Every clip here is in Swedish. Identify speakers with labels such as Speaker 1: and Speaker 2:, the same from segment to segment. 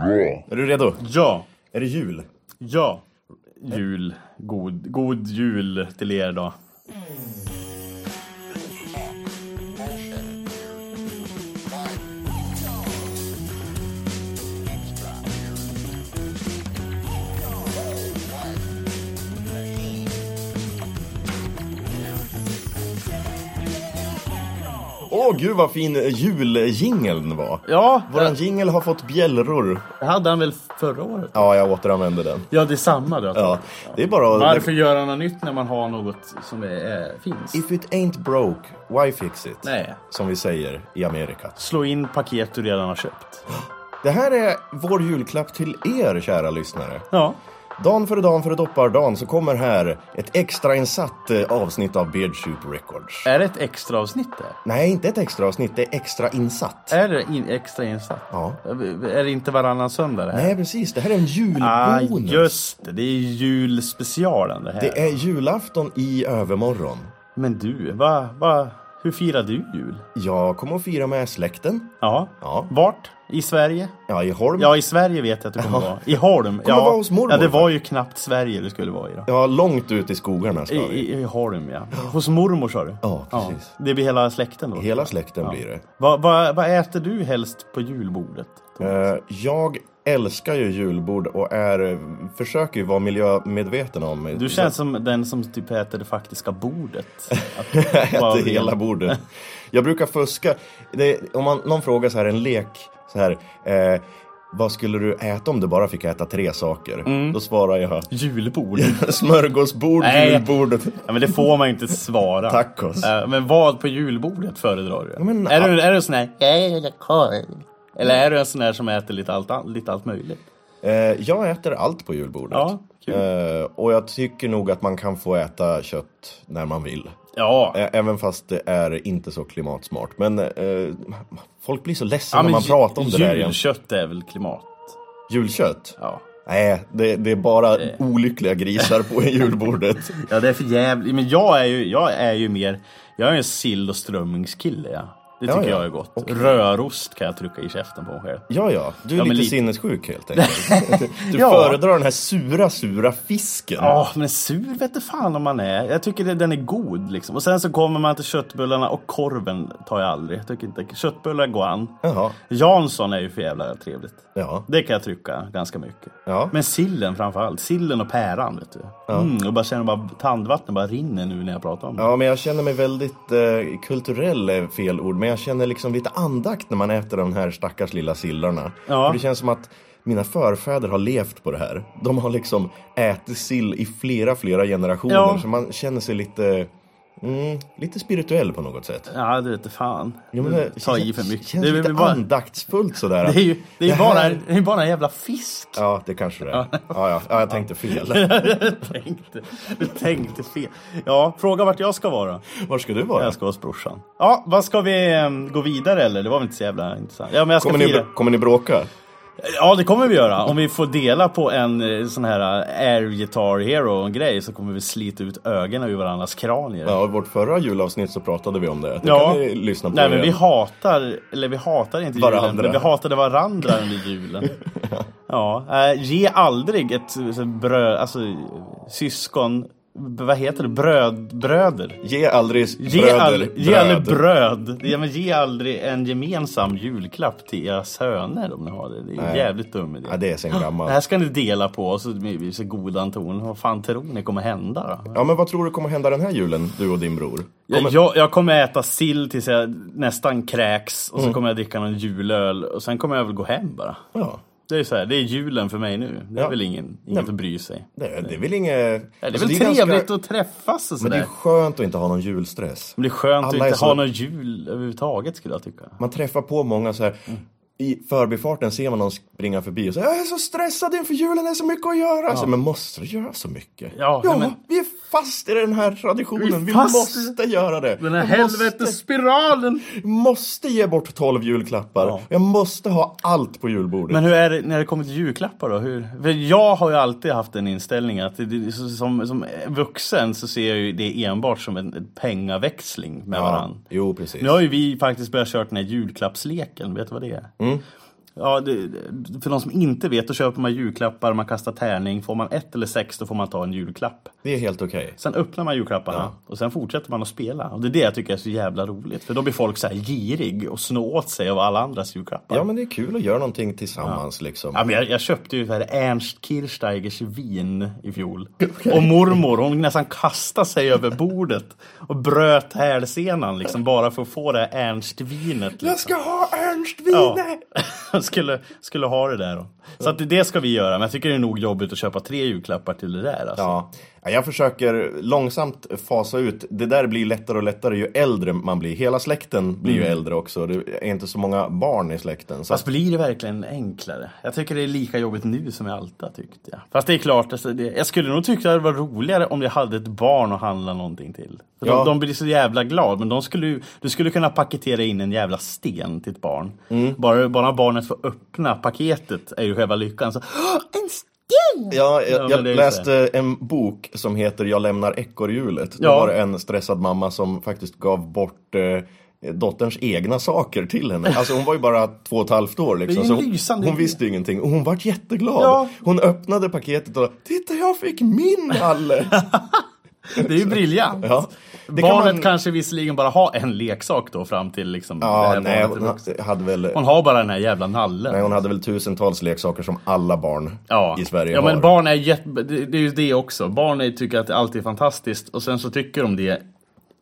Speaker 1: Är du redo?
Speaker 2: Ja,
Speaker 1: Är det jul?
Speaker 2: ja. Jul. God, god jul till er då.
Speaker 1: Åh gud vad fin juljingeln var.
Speaker 2: Ja,
Speaker 1: Våran jingel har fått bjällror.
Speaker 2: det hade han väl förra året?
Speaker 1: Ja, jag återanvänder den.
Speaker 2: Ja, det är samma då.
Speaker 1: Ja, det är bara att-
Speaker 2: Varför göra något nytt när man har något som är, eh, finns?
Speaker 1: If it ain't broke, why fix it?
Speaker 2: Nej.
Speaker 1: Som vi säger i Amerika.
Speaker 2: Slå in paket du redan har köpt.
Speaker 1: Det här är vår julklapp till er, kära lyssnare.
Speaker 2: Ja.
Speaker 1: Dan före dan före doppardan så kommer här ett extrainsatt eh, avsnitt av Beard Soup Records.
Speaker 2: Är det ett extra avsnitt där?
Speaker 1: Nej, inte ett extra avsnitt, det är extrainsatt.
Speaker 2: Är det in, extra insatt?
Speaker 1: Ja.
Speaker 2: Är det inte varannan söndag det här?
Speaker 1: Nej, precis. Det här är en
Speaker 2: Ah,
Speaker 1: julbonus.
Speaker 2: just det. Det är julspecialen det här.
Speaker 1: Det är julafton i övermorgon.
Speaker 2: Men du, va, va, hur firar du jul?
Speaker 1: Jag kommer att fira med släkten.
Speaker 2: Ja.
Speaker 1: Ja.
Speaker 2: Vart? I Sverige?
Speaker 1: Ja, i Holm.
Speaker 2: Ja, i Sverige vet jag att du kommer vara. I Holm. Ja.
Speaker 1: vara hos mormor.
Speaker 2: ja, det var ju knappt Sverige du skulle vara i då.
Speaker 1: Ja, långt ut i skogarna ska
Speaker 2: I,
Speaker 1: vi.
Speaker 2: i, I Holm, ja. Hos mormor sa du?
Speaker 1: Ja, precis.
Speaker 2: Det blir hela släkten då?
Speaker 1: Hela släkten blir det.
Speaker 2: Vad va, vad äter du helst på julbordet?
Speaker 1: Eh, jag älskar ju julbord och är, försöker ju vara miljömedveten om mig.
Speaker 2: Du känns som den som typ äter det faktiska bordet. Att bara-
Speaker 1: äter hela bordet. Jag brukar fuska. Det, om man, någon frågar så här, en lek, så här, eh, vad skulle du äta om du bara fick äta tre saker?
Speaker 2: Mm.
Speaker 1: Då svarar jag
Speaker 2: Julbord?
Speaker 1: smörgåsbord,
Speaker 2: Nej.
Speaker 1: julbord.
Speaker 2: Ja, men det får man ju inte svara.
Speaker 1: Tacos.
Speaker 2: Eh, Men vad på julbordet föredrar du?
Speaker 1: men-
Speaker 2: är, du är du en sån här, jag gillar korv. Eller är du en sån här som äter lite allt, an- lite allt möjligt?
Speaker 1: Eh, jag äter allt på julbordet.
Speaker 2: Ja, kul.
Speaker 1: Eh, och jag tycker nog att man kan få äta kött när man vill.
Speaker 2: Ja.
Speaker 1: Ä- Även fast det är inte så klimatsmart. Men eh, folk blir så ledsna
Speaker 2: ja
Speaker 1: när man
Speaker 2: ju-
Speaker 1: pratar om det där igen.
Speaker 2: Julkött är väl klimat?
Speaker 1: Julkött?
Speaker 2: Ja. Eh.
Speaker 1: Nej, det, det är bara olyckliga grisar på julbordet.
Speaker 2: Ja, det är för jävligt. Men jag är ju, jag är ju mer, jag är en sill och strömmingskille. Ja. Det
Speaker 1: Ja,
Speaker 2: tycker
Speaker 1: ja.
Speaker 2: jag är gott. Rörost kan jag trycka i käften på mig själv.
Speaker 1: Ja, ja, du är
Speaker 2: Ja, men
Speaker 1: lite
Speaker 2: lite.
Speaker 1: sinnessjuk helt enkelt. Du
Speaker 2: Ja.
Speaker 1: föredrar den här sura, sura fisken.
Speaker 2: Ja, men sur vet du fan om man är. Jag tycker det- den är god liksom. Och sen så kommer man till köttbullarna och korven tar jag aldrig. Jag tycker inte, köttbullar går an.
Speaker 1: Jaha,
Speaker 2: Jansson är ju för jävla trevligt.
Speaker 1: ja.
Speaker 2: Det kan jag trycka ganska mycket.
Speaker 1: Ja.
Speaker 2: Men sillen framför allt. Sillen och päran vet du. Mm, jag bara känner bara tandvattnet bara rinner nu när jag pratar om det.
Speaker 1: Ja, men jag känner mig väldigt eh, kulturell är fel ord, men jag känner liksom lite andakt när man äter de här stackars lilla sillarna.
Speaker 2: Ja.
Speaker 1: För det känns som att mina förfäder har levt på det här. De har liksom ätit sill i flera, flera generationer,
Speaker 2: Ja.
Speaker 1: så man känner sig lite, mm, lite spirituell på något sätt.
Speaker 2: Ja, det vete fan.
Speaker 1: Jo, men
Speaker 2: Du tar Mm. i för mycket.
Speaker 1: känns
Speaker 2: Det är,
Speaker 1: lite
Speaker 2: väl bara,
Speaker 1: andaktsfullt sådär.
Speaker 2: det är ju det är ju
Speaker 1: Det
Speaker 2: bara,
Speaker 1: här-
Speaker 2: det är bara en jävla fisk.
Speaker 1: Ja, det kanske det är. Ja, ja. ja jag tänkte fel.
Speaker 2: Jag tänkte, jag tänkte fel. Ja, fråga vart jag ska vara.
Speaker 1: Var ska du vara?
Speaker 2: Jag ska hos brorsan. Ja, vad ska vi ehm, gå vidare eller? Det var väl inte så jävla intressant. Ja, men jag ska
Speaker 1: Kommer
Speaker 2: fira.
Speaker 1: ni, kommer ni bråka?
Speaker 2: Ja, det kommer vi göra. Om vi får dela på en eh, sån här eh, Air Guitar Hero-grej så kommer vi slita ut ögonen ur varandras kranier.
Speaker 1: Ja, i vårt förra julavsnitt så pratade vi om det. Det
Speaker 2: Ja.
Speaker 1: kan ni lyssna på
Speaker 2: Nej, men vi
Speaker 1: igen.
Speaker 2: hatar, eller vi hatar inte julen,
Speaker 1: Varandra.
Speaker 2: men vi hatade varandra under julen. ja, eh, ge aldrig ett eh, så bröd, alltså syskon, b- vad heter det, bröd, bröder.
Speaker 1: Ge aldrig
Speaker 2: Ge,
Speaker 1: bröder
Speaker 2: all, ge
Speaker 1: bröd.
Speaker 2: aldrig bröd. Ja, men ge aldrig en gemensam julklapp till era söner om ni har det. Det är en
Speaker 1: Nej.
Speaker 2: jävligt dum idé.
Speaker 1: Ja, det är sen
Speaker 2: Det
Speaker 1: gammalt.
Speaker 2: här ska ni dela på och så blir vi så goda ton. Vad fan tror ni kommer hända då?
Speaker 1: Ja, men vad tror du kommer hända den här julen, du och din bror? Kommer...
Speaker 2: Jag, jag kommer äta sill tills jag nästan kräks
Speaker 1: Mm.
Speaker 2: och så kommer jag dricka någon julöl och sen kommer jag väl gå hem bara.
Speaker 1: Ja.
Speaker 2: Det är ju så här, det är julen för mig nu. Det är
Speaker 1: Ja.
Speaker 2: väl ingen, inget att bry sig.
Speaker 1: Det, är- det är väl inget...
Speaker 2: Det är
Speaker 1: Alltså,
Speaker 2: väl
Speaker 1: ganska-
Speaker 2: trevligt att träffas och
Speaker 1: Men det
Speaker 2: sådär.
Speaker 1: är skönt att inte ha någon julstress.
Speaker 2: Men det är skönt att
Speaker 1: Alla är
Speaker 2: inte
Speaker 1: så-
Speaker 2: ha någon jul överhuvudtaget skulle jag tycka.
Speaker 1: Man träffar på många så här...
Speaker 2: Mm.
Speaker 1: I förbifarten ser man någon springa förbi och säger Jag är så stressad inför julen, det är så mycket att göra. Så, men måste du göra så mycket?
Speaker 2: Ja, nej, men-
Speaker 1: vi är fast i den här traditionen. Vi,
Speaker 2: Vi är fast i-
Speaker 1: måste göra det.
Speaker 2: Den här
Speaker 1: Jag måste-
Speaker 2: helvetesspiralen!
Speaker 1: måste ge bort 12 julklappar.
Speaker 2: Ja.
Speaker 1: Jag måste ha allt på julbordet.
Speaker 2: Men hur är det när det kommer till julklappar då? Hur? För jag har ju alltid haft den inställningen att det- det, som, som vuxen så ser jag ju det enbart som en, en pengaväxling med
Speaker 1: Ja.
Speaker 2: varandra.
Speaker 1: Jo, precis. Mm.
Speaker 2: Nu har ju vi faktiskt börjat köra den här julklappsleken, vet du vad det är? Ja, det, för de som inte vet, då köper man julklappar, man kastar tärning. Får man ett eller sex, då får man ta en julklapp.
Speaker 1: Det är helt okej.
Speaker 2: Sen öppnar man julklapparna
Speaker 1: Ja.
Speaker 2: och sen fortsätter man att spela. Och det är det jag tycker är så jävla roligt. För då blir folk så här girig och snå åt sig av alla andras julklappar.
Speaker 1: Ja, men det är kul att göra någonting tillsammans liksom.
Speaker 2: Ja, men jag, jag köpte ju så här Ernst Kirchsteigers vin i fjol. Och mormor hon nästan kastade sig över bordet och bröt hälsenan liksom bara för att få det här Ernst-vinet. Liksom.
Speaker 1: ska ha Ernst
Speaker 2: Ja. skulle, skulle ha det där då. Så att det ska vi göra, men jag tycker det är nog jobbigt att köpa tre julklappar till det där. Alltså.
Speaker 1: Ja. Ja, jag försöker långsamt fasa ut. Det där blir lättare och lättare ju äldre man blir. Hela släkten blir ju
Speaker 2: Mm.
Speaker 1: äldre också. Det är inte så många barn i släkten. Så
Speaker 2: Fast blir det verkligen enklare? Jag tycker det är lika jobbigt nu som jag alltid har tyckt. Ja. Fast det är klart, alltså, det, jag skulle nog tycka det var roligare om jag hade ett barn att handla någonting till. För
Speaker 1: Ja.
Speaker 2: de, de blir så jävla glada, men de skulle, ju- du skulle kunna paketera in en jävla sten till ett barn.
Speaker 1: Mm.
Speaker 2: Bara, bara barnet får öppna paketet är ju själva lyckan. Så, "Åh, en sten!
Speaker 1: Ja, jag,
Speaker 2: men
Speaker 1: jag
Speaker 2: det är ju
Speaker 1: läste en bok som heter Jag lämnar ekorrhjulet. Då
Speaker 2: Ja.
Speaker 1: var det en stressad mamma som faktiskt gav bort eh, dotterns egna saker till henne. Alltså hon var ju bara två och ett halvt år liksom.
Speaker 2: Det är ju
Speaker 1: Så
Speaker 2: en
Speaker 1: hon,
Speaker 2: lysande
Speaker 1: hon
Speaker 2: idé.
Speaker 1: visste ju ingenting och hon vart jätteglad.
Speaker 2: Ja.
Speaker 1: Hon öppnade paketet och Titta jag fick min Halle!
Speaker 2: Det är ju briljant.
Speaker 1: Ja. Det kan
Speaker 2: Barnet
Speaker 1: man-
Speaker 2: kanske visserligen bara har en leksak då fram till liksom det
Speaker 1: ja,
Speaker 2: här
Speaker 1: nej,
Speaker 2: barnet är
Speaker 1: hon
Speaker 2: vuxen.
Speaker 1: ha- hade väl,
Speaker 2: Hon har bara den här jävla nallen.
Speaker 1: nej, hon hade väl tusentals leksaker som alla barn
Speaker 2: ja.
Speaker 1: i Sverige
Speaker 2: Ja,
Speaker 1: har.
Speaker 2: men barn är jätte... Det det är ju det också. Barn är, tycker att allt är fantastiskt och sen så tycker de det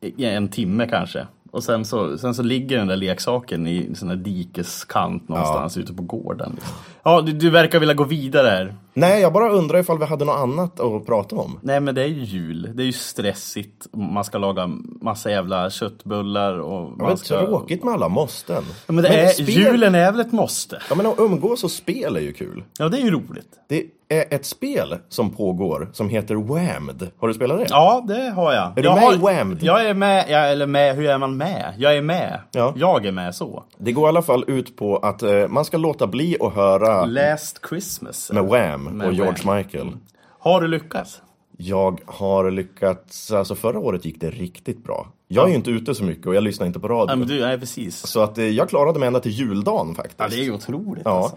Speaker 2: i en timme kanske. Och sen så, sen så ligger den där leksaken i en sån här dikeskant någonstans ute på gården. liksom. Ja, du, du verkar vilja gå vidare här.
Speaker 1: Nej, jag bara undrar ifall vi hade något annat att prata om.
Speaker 2: Nej men det är ju jul, det är ju stressigt. Man ska laga massa jävla köttbullar och...
Speaker 1: Det var
Speaker 2: Man ska...
Speaker 1: tråkigt med alla måsten.
Speaker 2: Alltså- Ja, men det är,
Speaker 1: spel-
Speaker 2: julen är väl ett måste?
Speaker 1: Ja men att umgås och spel är ju kul.
Speaker 2: Ja, det är ju roligt.
Speaker 1: Det är ett spel som pågår som heter Whammed. Har du spelat det?
Speaker 2: Ja, det har jag. Är
Speaker 1: du
Speaker 2: jag
Speaker 1: med
Speaker 2: har,
Speaker 1: i Whammed?
Speaker 2: Jag är med, jag, eller med, hur är man med? Jag är med.
Speaker 1: Ja.
Speaker 2: Jag är med så.
Speaker 1: Det går i alla fall ut på att eh, man ska låta bli att höra
Speaker 2: Last Christmas.
Speaker 1: med Wham och George
Speaker 2: Wham.
Speaker 1: Michael.
Speaker 2: Har du lyckats?
Speaker 1: Jag har lyckats, alltså förra året gick det riktigt bra. Jag är ju inte ute så mycket och jag lyssnar inte på radio.
Speaker 2: Ja, men du, nej precis.
Speaker 1: Så att eh, jag klarade mig ända till juldagen faktiskt.
Speaker 2: Ja, det är ju otroligt
Speaker 1: Ja.
Speaker 2: alltså.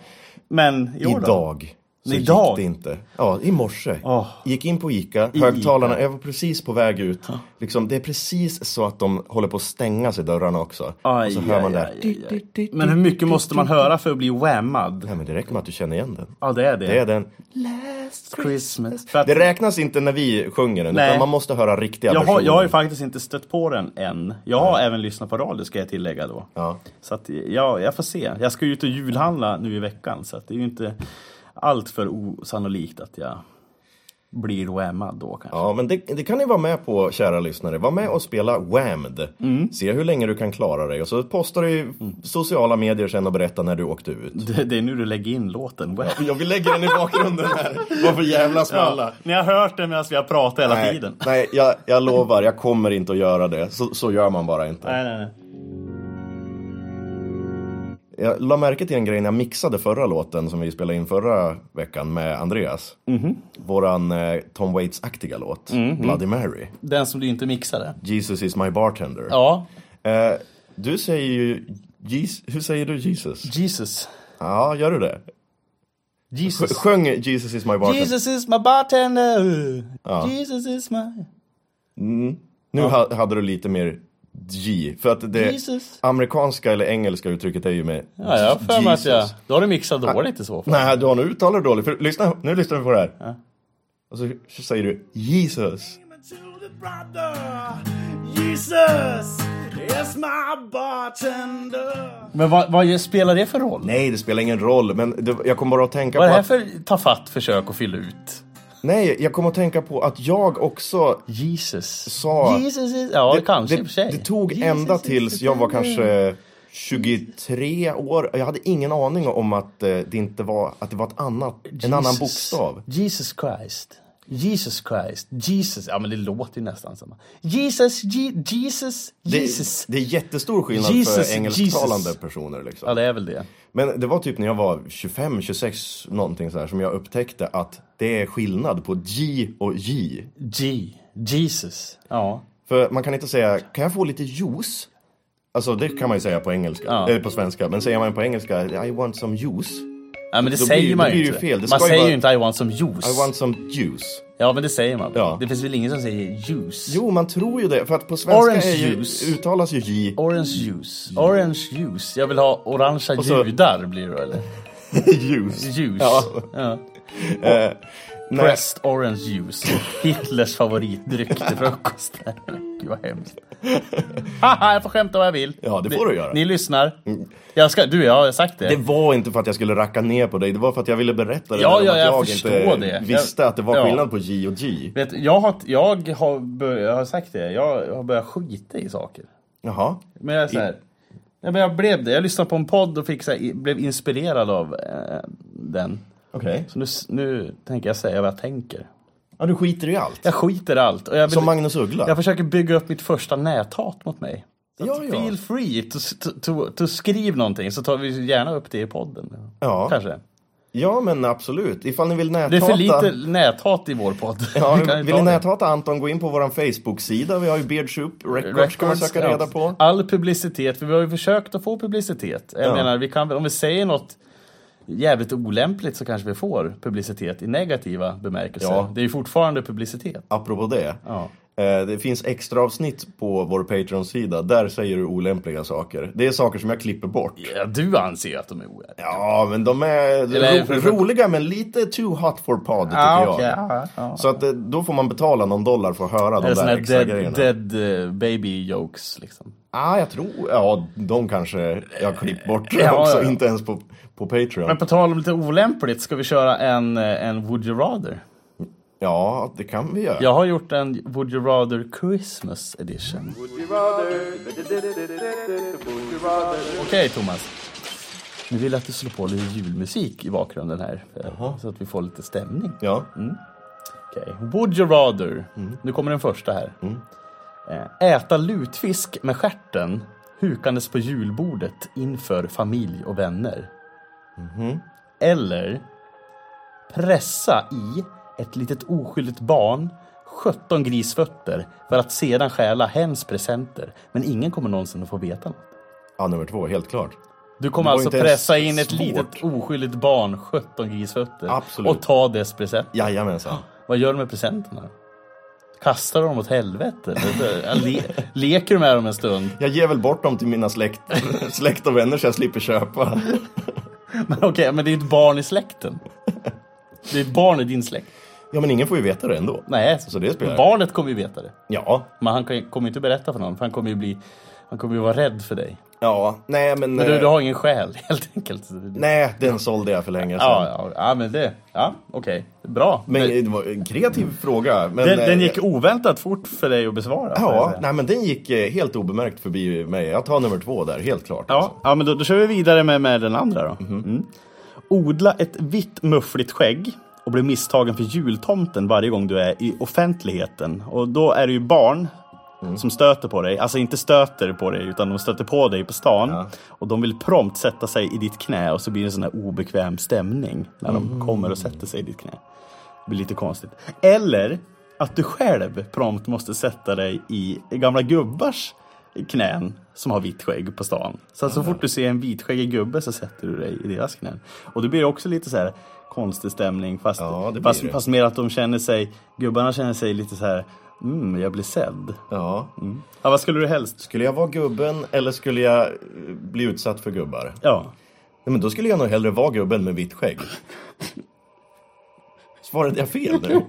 Speaker 2: Men i år då?
Speaker 1: Idag. Så
Speaker 2: Idag? Ah.
Speaker 1: gick det inte. Ja, i morse.
Speaker 2: Åh.
Speaker 1: Gick in på Ica, högtalarna, jag var precis på väg ut.
Speaker 2: Ah.
Speaker 1: Liksom, det är precis så att de håller på att stänga sig dörrarna också.
Speaker 2: Aj,
Speaker 1: och så hör man
Speaker 2: aj,
Speaker 1: där.
Speaker 2: aj, aj, aj. Men hur mycket måste man höra för att bli whammad?
Speaker 1: Nej, men det räcker med att du känner igen den.
Speaker 2: Ja, det är det.
Speaker 1: Det är den.
Speaker 2: Christmas. För att
Speaker 1: Det räknas inte när vi sjunger den,
Speaker 2: Nej.
Speaker 1: utan man måste höra riktiga
Speaker 2: jag, har,
Speaker 1: versioner.
Speaker 2: jag har ju faktiskt inte stött på den än. Jag har även lyssnat på radio ska jag tillägga då.
Speaker 1: Ja.
Speaker 2: Så att, ja, jag får se. Jag ska ju ut och julhandla nu i veckan så att det är ju inte allt för osannolikt att jag blir whammad då kanske.
Speaker 1: Ja, men det, det kan ni vara med på, kära lyssnare. Var med och spela Whammed.
Speaker 2: Mm.
Speaker 1: Se hur länge du kan klara dig. Och så postar du i sociala medier sen och berätta när du åkte ut.
Speaker 2: Det, det är nu du lägger in låten. Wham.
Speaker 1: Jag vill lägga den i bakgrunden här. Varför jävlas med alla?
Speaker 2: Ni har hört den medan vi har pratat hela
Speaker 1: Nej,
Speaker 2: tiden.
Speaker 1: nej jag, jag lovar, jag kommer inte att göra det. Så, så gör man bara inte.
Speaker 2: Nej, nej, nej.
Speaker 1: Jag la märke till en grej när jag mixade förra låten som vi spelade in förra veckan med Andreas. Våran eh, Tom Waits-aktiga låt, Bloody Mary.
Speaker 2: Den som du inte mixade.
Speaker 1: Jesus is my bartender.
Speaker 2: Ja,
Speaker 1: Eh, du säger ju... Jes- hur säger du Jesus?
Speaker 2: Jesus.
Speaker 1: Ja, gör du det?
Speaker 2: Jesus.
Speaker 1: Sjöng Jesus is my bartender.
Speaker 2: Jesus is my bartender. Jesus is my...
Speaker 1: Nu ha, hade du lite mer G. För att det
Speaker 2: Jesus.
Speaker 1: amerikanska eller engelska uttrycket är ju med
Speaker 2: Ja, jag har för mig att jag...
Speaker 1: Jesus.
Speaker 2: Då har du mixat dåligt i så fall.
Speaker 1: Nej, du har nog uttalat det dåligt. För, lyssna, nu lyssnar vi på det här. Och så, så säger du Jesus.
Speaker 2: Men vad, vad spelar det för roll?
Speaker 1: Nej, det spelar ingen roll. Men det, jag kommer bara att tänka
Speaker 2: Vad är
Speaker 1: på
Speaker 2: det här
Speaker 1: att,
Speaker 2: för ta fatt försök att fylla ut?
Speaker 1: Nej, jag kommer att tänka på att jag också
Speaker 2: Jesus.
Speaker 1: Sa-
Speaker 2: Jesus is... Ja, kanske i och för
Speaker 1: det,
Speaker 2: sig.
Speaker 1: det tog
Speaker 2: Jesus
Speaker 1: ända
Speaker 2: is
Speaker 1: tills
Speaker 2: the
Speaker 1: jag var
Speaker 2: father.
Speaker 1: kanske 23 år. Jag hade ingen aning om att eh, det inte var, att det var ett annat, en annan
Speaker 2: Jesus.
Speaker 1: bokstav.
Speaker 2: Jesus Christ. Jesus Christ. Jesus. Ja, men det låter ju nästan samma. Jesus, Je- Jesus,
Speaker 1: Det,
Speaker 2: Jesus.
Speaker 1: det är jättestor skillnad
Speaker 2: Jesus,
Speaker 1: för engelsktalande
Speaker 2: Jesus.
Speaker 1: personer. Liksom.
Speaker 2: Ja, det är väl det.
Speaker 1: Men det var typ när jag var 25, 26 någonting så här som jag upptäckte att det är skillnad på J och J.
Speaker 2: G. Jesus. Ja.
Speaker 1: För man kan inte säga, kan jag få lite juice? Alltså det kan man ju säga på engelska,
Speaker 2: Ja.
Speaker 1: eller på svenska. Men säger man på engelska, I want some juice.
Speaker 2: Ja, men det
Speaker 1: Då
Speaker 2: säger
Speaker 1: blir-
Speaker 2: man
Speaker 1: då
Speaker 2: ju
Speaker 1: blir det
Speaker 2: inte.
Speaker 1: fel. Det
Speaker 2: man
Speaker 1: ska ju
Speaker 2: säger
Speaker 1: vara-
Speaker 2: ju inte I want some juice.
Speaker 1: I want some juice.
Speaker 2: Ja, men det säger man.
Speaker 1: Ja.
Speaker 2: Det finns väl ingen som säger juice?
Speaker 1: Jo, man tror ju det. För att på svenska
Speaker 2: Orange
Speaker 1: är ju,
Speaker 2: juice.
Speaker 1: uttalas ju J.
Speaker 2: Orange juice. Orange juice. Jag vill ha orangea
Speaker 1: så-
Speaker 2: judar blir det då, eller?
Speaker 1: juice.
Speaker 2: Juice.
Speaker 1: Ja.
Speaker 2: Ja.
Speaker 1: Eh, nej,
Speaker 2: Pressed orange juice. Hitlers favoritdryck till frukost. Gud vad hemskt. Haha, jag får skämta vad jag vill.
Speaker 1: Ja, det får
Speaker 2: Ni-
Speaker 1: du göra. Mm.
Speaker 2: Ni lyssnar. Jag ska, du, jag har sagt det.
Speaker 1: det var inte för att jag skulle racka ner på dig. Det var för att jag ville berätta det
Speaker 2: Ja,
Speaker 1: där om
Speaker 2: ja,
Speaker 1: att
Speaker 2: jag
Speaker 1: jag
Speaker 2: förstår
Speaker 1: inte
Speaker 2: det.
Speaker 1: visste att det var
Speaker 2: Ja.
Speaker 1: skillnad på J och G.
Speaker 2: Vet, jag, har, jag, har bör, jag har sagt det, jag har börjat skita i saker.
Speaker 1: Jaha.
Speaker 2: Men jag är så här, ja, men jag blev det. Jag lyssnade på en podd och fick så här, i- blev inspirerad av eh, den.
Speaker 1: Okej.
Speaker 2: Så nu, s- nu tänker jag säga vad jag tänker.
Speaker 1: Ja, du skiter i allt.
Speaker 2: Jag skiter i allt. Och jag, vill,
Speaker 1: Som Magnus Uggla.
Speaker 2: jag försöker bygga upp mitt första näthat mot mig. Så
Speaker 1: Ja,
Speaker 2: att
Speaker 1: ja.
Speaker 2: Feel free to, to, to, to skriv någonting så tar vi gärna upp det i podden.
Speaker 1: Ja.
Speaker 2: Kanske.
Speaker 1: Ja, men absolut. Ifall ni vill näthata...
Speaker 2: Det är för lite näthat i vår podd.
Speaker 1: Ja,
Speaker 2: Vi kan ju
Speaker 1: vill
Speaker 2: ta
Speaker 1: ni
Speaker 2: det.
Speaker 1: näthata Anton, gå in på vår Facebook-sida. Vi har ju Beardsoup Records, kan man söka
Speaker 2: ja.
Speaker 1: reda på.
Speaker 2: All publicitet, för vi har ju försökt att få publicitet. Jag
Speaker 1: Ja.
Speaker 2: menar, vi kan, väl- om vi säger något jävligt olämpligt så kanske vi får publicitet i negativa bemärkelser.
Speaker 1: Ja.
Speaker 2: Det är ju fortfarande publicitet.
Speaker 1: Apropå det.
Speaker 2: Ja.
Speaker 1: Eh, Det finns extra avsnitt på vår Patreon-sida. Där säger du olämpliga saker. Det är saker som jag klipper bort.
Speaker 2: Ja, du anser ju att de är oärliga.
Speaker 1: Ja, men de är
Speaker 2: Eller-
Speaker 1: ro roliga men lite too hot for pod tycker
Speaker 2: Ah,
Speaker 1: jag. Så att eh, då får man betala någon dollar för att höra de
Speaker 2: Eller sådana
Speaker 1: där
Speaker 2: här
Speaker 1: extra
Speaker 2: dead,
Speaker 1: grejerna.
Speaker 2: dead eh, baby jokes liksom.
Speaker 1: Ah, jag tror, ja de kanske jag har klippt bort
Speaker 2: ja,
Speaker 1: också,
Speaker 2: ja.
Speaker 1: inte ens på, på Patreon.
Speaker 2: Men på tal om lite olämpligt, ska vi köra en, eh, en Would You Rather?
Speaker 1: Ja, det kan vi göra.
Speaker 2: Jag har gjort en Would You Rather Christmas Edition. Okej Thomas. Nu vill jag att du slår på lite julmusik i bakgrunden här. eh, Så att vi får lite stämning.
Speaker 1: Ja.
Speaker 2: Okej. Would you rather?
Speaker 1: Mm.
Speaker 2: Nu kommer den första här. Eh, Äta lutfisk med stjärten hukandes på julbordet inför familj och vänner.
Speaker 1: Mm-hmm.
Speaker 2: Eller pressa i ett litet oskyldigt barn 17 grisfötter för att sedan stjäla hens presenter. Men ingen kommer någonsin att få veta något.
Speaker 1: ja, nummer två, helt klart.
Speaker 2: Du kommer
Speaker 1: Det var
Speaker 2: alltså
Speaker 1: inte ens
Speaker 2: pressa in ett
Speaker 1: svårt.
Speaker 2: litet oskyldigt barn 17 grisfötter
Speaker 1: Absolut.
Speaker 2: och ta dess present.
Speaker 1: Jajamensan.
Speaker 2: Vad gör du med presenterna? Kastar du dem åt helvete? Le leker du med dem en stund?
Speaker 1: Jag ger väl bort dem till mina släkt, släkt och vänner så jag slipper köpa.
Speaker 2: Men okej, men det är ett barn i släkten. Det är ett barn i din släkt.
Speaker 1: Ja, men ingen får ju veta det ändå.
Speaker 2: Nej,
Speaker 1: Så det spelar-
Speaker 2: barnet kommer ju veta det.
Speaker 1: Ja,
Speaker 2: Men han kan- kommer ju inte berätta för någon, för han kommer ju bli... Han kommer ju vara rädd för dig.
Speaker 1: ja, nej men...
Speaker 2: Men du,
Speaker 1: eh,
Speaker 2: du har ingen själ, helt enkelt.
Speaker 1: Nej, den sålde jag för länge sedan.
Speaker 2: Ja, ja, ja, men det... Ja, okej. Bra.
Speaker 1: Men det var en kreativ fråga. Men,
Speaker 2: den, den
Speaker 1: eh,
Speaker 2: gick oväntat fort för dig att besvara. får jag
Speaker 1: Ja,
Speaker 2: säga.
Speaker 1: nej, men den gick eh, helt obemärkt förbi mig. Jag tar nummer två där, helt klart.
Speaker 2: Ja, ja men då, då kör vi vidare med, med den andra då. Mm. Odla ett vitt muffligt skägg och bli misstagen för jultomten varje gång du är i offentligheten. Och då är det ju barn som stöter på dig. Alltså inte stöter på dig, utan de stöter på dig på stan. Och de vill prompt sätta sig i ditt knä och så blir det en sån här obekväm stämning när de kommer och sätter sig i ditt knä. Det blir lite konstigt. Eller att du själv prompt måste sätta dig i gamla gubbars knän som har vitt skägg på stan. Så att så fort du ser en vitskäggig gubbe så sätter du dig i deras knän. Och det blir det också lite så här konstig stämning fast,
Speaker 1: Ja, det blir
Speaker 2: fast,
Speaker 1: det.
Speaker 2: fast mer att de känner sig, gubbarna känner sig lite så här, mm, jag blir sedd.
Speaker 1: Ja.
Speaker 2: Ja, vad skulle du helst?
Speaker 1: Skulle jag vara gubben eller skulle jag eh, bli utsatt för gubbar? Nej,
Speaker 2: Ja.
Speaker 1: men då skulle jag nog hellre vara gubben med vitt skägg. Svarade jag fel nu?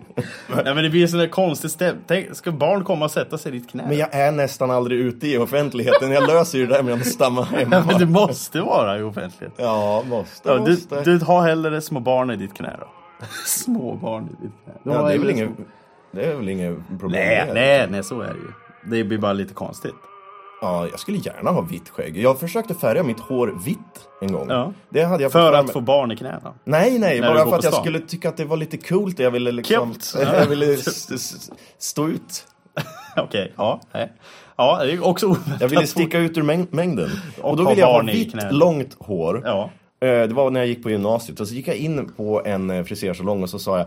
Speaker 2: Nej, men det blir en sån där konstig stämning. Tänk, Ska barn komma och sätta sig i ditt knä?
Speaker 1: Men jag är nästan aldrig ute i offentligheten. Jag löser ju det där med att stamma
Speaker 2: Ja, men
Speaker 1: hemma.
Speaker 2: det måste vara i offentlighet.
Speaker 1: Ja, måste,
Speaker 2: Ja, du,
Speaker 1: måste.
Speaker 2: du har hellre små barn i ditt knä då? små barn i ditt knä? Du
Speaker 1: ja,
Speaker 2: har
Speaker 1: det, är väl
Speaker 2: hellre
Speaker 1: inget,
Speaker 2: små-
Speaker 1: det är väl inget problem med
Speaker 2: Nej,
Speaker 1: det.
Speaker 2: nej, nej, så är det ju. Det blir bara lite konstigt.
Speaker 1: Ja, jag skulle gärna ha vitt skägg. Jag försökte färga mitt hår vitt en gång.
Speaker 2: Ja.
Speaker 1: Det hade jag fått
Speaker 2: För
Speaker 1: för
Speaker 2: att
Speaker 1: mig.
Speaker 2: få barn i knäna.
Speaker 1: Nej, nej,
Speaker 2: När du
Speaker 1: bara
Speaker 2: går
Speaker 1: för
Speaker 2: på
Speaker 1: att jag
Speaker 2: stan.
Speaker 1: skulle tycka att det var lite coolt. Jag ville liksom...
Speaker 2: Coolt.
Speaker 1: Jag ville s- s- stå ut.
Speaker 2: Okej, ja. Nej. Ja, det är ju också
Speaker 1: Jag ville
Speaker 2: oväntat.
Speaker 1: sticka ut ur mäng- mängden.
Speaker 2: Och
Speaker 1: Och då
Speaker 2: ha
Speaker 1: ville jag ha
Speaker 2: barn i
Speaker 1: vitt,
Speaker 2: knät.
Speaker 1: långt hår.
Speaker 2: Ja.
Speaker 1: Eh, Det var när jag gick på gymnasiet och så gick jag in på en eh, frisersalong och så sa jag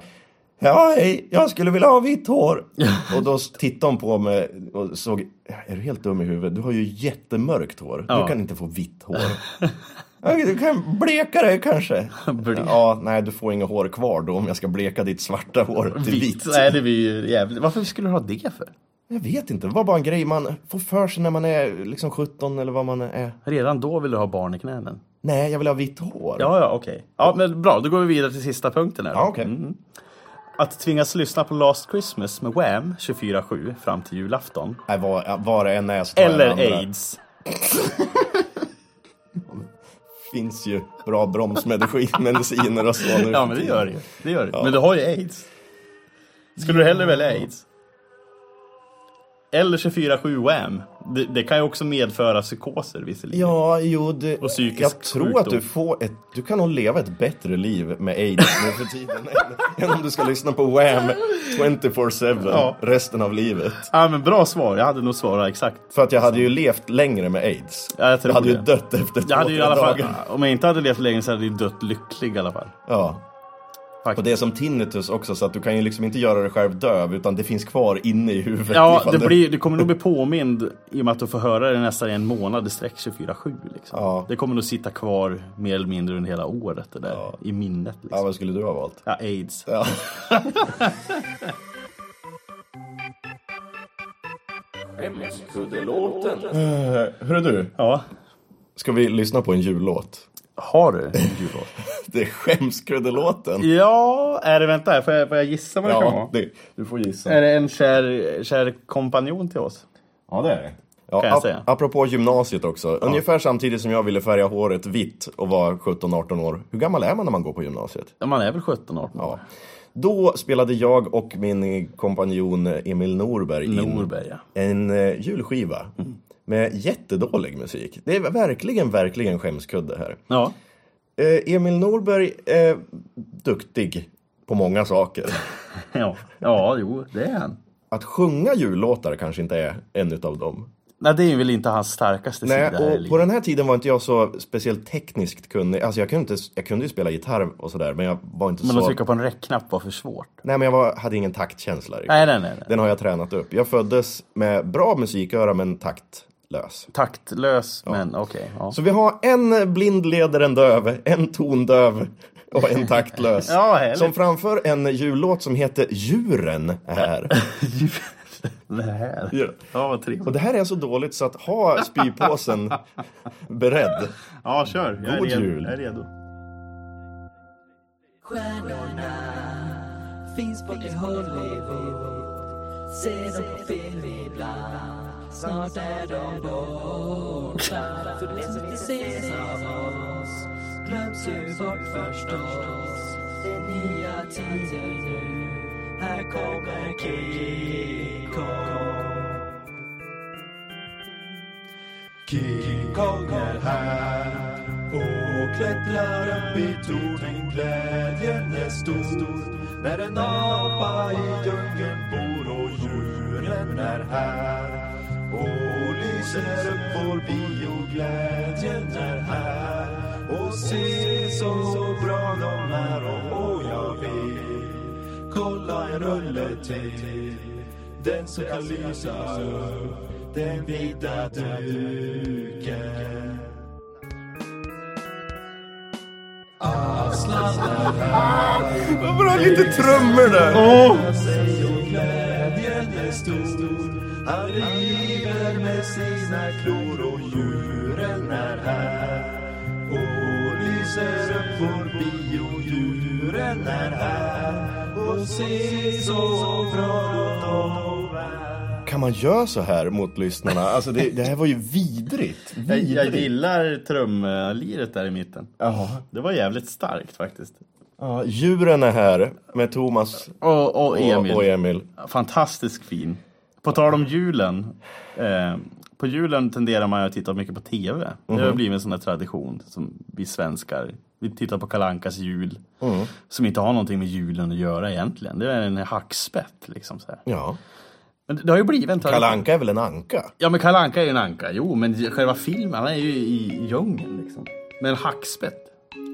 Speaker 1: Ja, hej, jag skulle vilja ha vitt hår. och då tittade hon på mig och såg, är du helt dum i huvudet? Du har ju jättemörkt hår.
Speaker 2: Ja.
Speaker 1: Du kan inte få vitt hår. "Ja, Du kan bleka dig kanske.
Speaker 2: Blek.
Speaker 1: Ja, nej, du får inga hår kvar då om jag ska bleka ditt svarta hår till vitt.
Speaker 2: Vitt. Nej, det blir ju jävligt. Varför skulle du ha det för?
Speaker 1: Jag vet inte, det var bara en grej man får för sig när man är liksom 17 eller vad man är.
Speaker 2: Redan då vill du ha barn i knänen.
Speaker 1: Nej, jag vill ha vitt hår.
Speaker 2: Ja, ja, okej. Ja, men bra. Då går vi vidare till sista punkten här. då.
Speaker 1: Ja, okej.
Speaker 2: Att tvingas lyssna på Last Christmas med Wham 24-7 fram till julafton.
Speaker 1: Nej, vad, vad det än är så tar jag
Speaker 2: Eller
Speaker 1: den andra.
Speaker 2: aids.
Speaker 1: finns ju bra bromsmediciner och så nu
Speaker 2: Ja,
Speaker 1: för
Speaker 2: men det
Speaker 1: tiden.
Speaker 2: gör det ju. det gör det. Men du har ju aids. Skulle du hellre välja aids? Eller 24-7 Wham. Det, det kan ju också medföra psykoser visserligen.
Speaker 1: Ja, jo, det,
Speaker 2: Och psykisk
Speaker 1: jag tror att
Speaker 2: sjukdom.
Speaker 1: du får ett, du kan nog leva ett bättre liv med aids nu för tiden än, än om du ska lyssna på Wham 24-7
Speaker 2: Ja.
Speaker 1: resten av livet.
Speaker 2: Ja, Ah, men bra svar. Jag hade nog svarat exakt.
Speaker 1: För att jag hade ju levt längre med aids.
Speaker 2: Ja, jag tror
Speaker 1: hade ju
Speaker 2: det.
Speaker 1: dött efter två,
Speaker 2: Jag hade ju i
Speaker 1: tre
Speaker 2: alla fall,
Speaker 1: dagar.
Speaker 2: om jag inte hade levt länge så hade jag ju dött lycklig i alla fall.
Speaker 1: Ja.
Speaker 2: Faktiskt.
Speaker 1: Och det är som tinnitus också, så att du kan ju liksom inte göra dig själv döv, utan det finns kvar inne i huvudet.
Speaker 2: Ja,
Speaker 1: ifall
Speaker 2: det
Speaker 1: du-
Speaker 2: blir, du kommer nog bli påmind i och med att du får höra det nästan i en månad i sträck 24-7. Liksom.
Speaker 1: Ja.
Speaker 2: Det kommer nog sitta kvar mer eller mindre under hela året det där, i minnet. Liksom.
Speaker 1: Ja,
Speaker 2: Ja,
Speaker 1: vad skulle du ha valt?
Speaker 2: aids.
Speaker 1: Ja. Eh, Hörru du,
Speaker 2: Ja.
Speaker 1: ska vi lyssna på en jullåt?
Speaker 2: Har du en jullåt?
Speaker 1: Det är skämskuddelåten.
Speaker 2: Ja, är det, vänta, får jag, får jag gissa vad det kan vara? Eh,
Speaker 1: det, du får gissa.
Speaker 2: Är det en kär, kär kompanjon till oss?
Speaker 1: Ja, det är det. Ja,
Speaker 2: Kan jag
Speaker 1: ap-
Speaker 2: säga.
Speaker 1: Apropå gymnasiet också. Ungefär samtidigt som jag ville färga håret vitt och var 17-18 år. Hur gammal är man när man går på gymnasiet?
Speaker 2: Ja, Man är väl 17-18?
Speaker 1: Ja. Då spelade jag och min kompanjon Emil Norberg in
Speaker 2: Norberg, ja.
Speaker 1: en eh, julskiva
Speaker 2: Mm.
Speaker 1: med jättedålig musik. Det är verkligen, verkligen skämskudde här.
Speaker 2: ja.
Speaker 1: Eh, Emil Norberg är duktig på många saker.
Speaker 2: Ja, ja jo, det är han.
Speaker 1: Att sjunga jullåtar kanske inte är en utav dem.
Speaker 2: Nej, det är väl inte hans starkaste
Speaker 1: Nej,
Speaker 2: sida här i
Speaker 1: och på
Speaker 2: livet.
Speaker 1: den här tiden var inte jag så speciellt tekniskt kunnig. Alltså jag kunde, inte, jag kunde ju spela gitarr och sådär, men jag var inte
Speaker 2: Men
Speaker 1: så...
Speaker 2: att trycka på en räckknapp var för svårt.
Speaker 1: Nej, men jag var, hade ingen taktkänsla riktigt.
Speaker 2: Nej, nej, nej. nej.
Speaker 1: Den har jag tränat upp. Jag föddes med bra musiköra, men taktlös.
Speaker 2: Taktlös, men okej. ja.
Speaker 1: Så vi har en blind leder en döv, en tondöv och en taktlös.
Speaker 2: Ja, härligt.
Speaker 1: som framför en jullåt som heter Djuren här.
Speaker 2: Det här.
Speaker 1: Ja.
Speaker 2: Ja, vad
Speaker 1: Och
Speaker 2: trevligt.
Speaker 1: det här är så dåligt så att ha spypåsen beredd.
Speaker 2: Ja, kör. Jag är
Speaker 1: God
Speaker 2: redo.
Speaker 1: jul.
Speaker 2: Jag är redo.
Speaker 3: Stjärnorna finns bort i Hollywood Se dem på film ibland Snart är de borta För det som inte ses av oss glöms ju bort förstås Det är nya tider nu Här kommer Kiko
Speaker 4: Kikong är här och klättrar upp i tornen. Glädjen är stor när en apa i djungeln bor och djuren är här och lyser upp vår bio. Glädjen är här och se så bra de är och åh, jag vill kolla en rulle till. Den som kan lysa upp den vita duken.
Speaker 1: Bra, lite trummor där!
Speaker 4: sig och glädjen är stor. Han river med sina klor och djuren är här. Och lyser upp vår bio. Djuren är här och se så bra de är.
Speaker 1: Kan man göra så här mot lyssnarna? Alltså det, det här var ju vidrigt.
Speaker 2: Jag,
Speaker 1: vidrigt.
Speaker 2: jag gillar trumliret där i mitten.
Speaker 1: Ja.
Speaker 2: Det var jävligt starkt faktiskt.
Speaker 1: Ja, djuren är här med Thomas
Speaker 2: Och, och Emil.
Speaker 1: och, och Emil.
Speaker 2: Fantastiskt fin. På tal om julen. Eh, på julen tenderar man ju att titta mycket på TV. Det har
Speaker 1: Mhm.
Speaker 2: blivit en sån här tradition som vi svenskar. Vi tittar på Kalankas jul.
Speaker 1: Mm.
Speaker 2: Som inte har någonting med julen att göra egentligen. Det är en hackspett liksom. Så här.
Speaker 1: Ja.
Speaker 2: Men det har ju blivit en tradition.
Speaker 1: Kalle Anka är väl en anka?
Speaker 2: Ja men Kalle Anka är ju en anka, jo men själva filmen han är ju i djungeln liksom. Med en hackspett.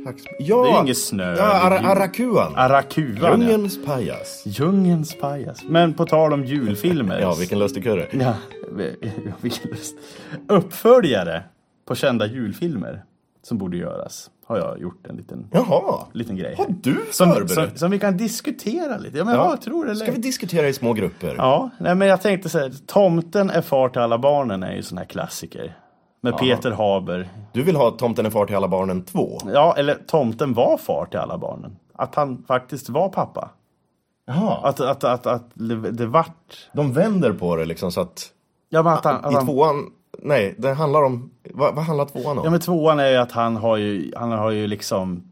Speaker 1: Hackspett. Ja,
Speaker 2: Det är ju ingen snö.
Speaker 1: Ja, Ara- Arakuan.
Speaker 2: Arakuan, ja.
Speaker 1: Djungelns pajas.
Speaker 2: Djungens pajas. Men på tal om julfilmer.
Speaker 1: Ja, vilken lustigkurre.
Speaker 2: Ja, vi- vilken lust. Uppföljare på kända julfilmer som borde göras. Har jag gjort en liten,
Speaker 1: Jaha.
Speaker 2: liten grej.
Speaker 1: Har du
Speaker 2: som, som,
Speaker 1: förberett?
Speaker 2: som vi kan diskutera lite. Ja, men
Speaker 1: Ja.
Speaker 2: vad tror du? eller?
Speaker 1: Ska vi diskutera i små grupper?
Speaker 2: Ja, nej, men jag tänkte så här. Tomten är far till alla barnen är ju sån här klassiker. Med Peter Haber.
Speaker 1: Du vill ha Tomten är far till alla barnen 2?
Speaker 2: Ja, eller tomten var far till alla barnen. Att han faktiskt var pappa.
Speaker 1: Jaha.
Speaker 2: Att, att, att, att det vart...
Speaker 1: De vänder på det liksom så att
Speaker 2: Ja, men att han, att
Speaker 1: Ah, i
Speaker 2: han,
Speaker 1: tvåan, nej, det handlar om, vad, vad handlar tvåan om?
Speaker 2: Ja men tvåan är ju att han har ju, han har ju liksom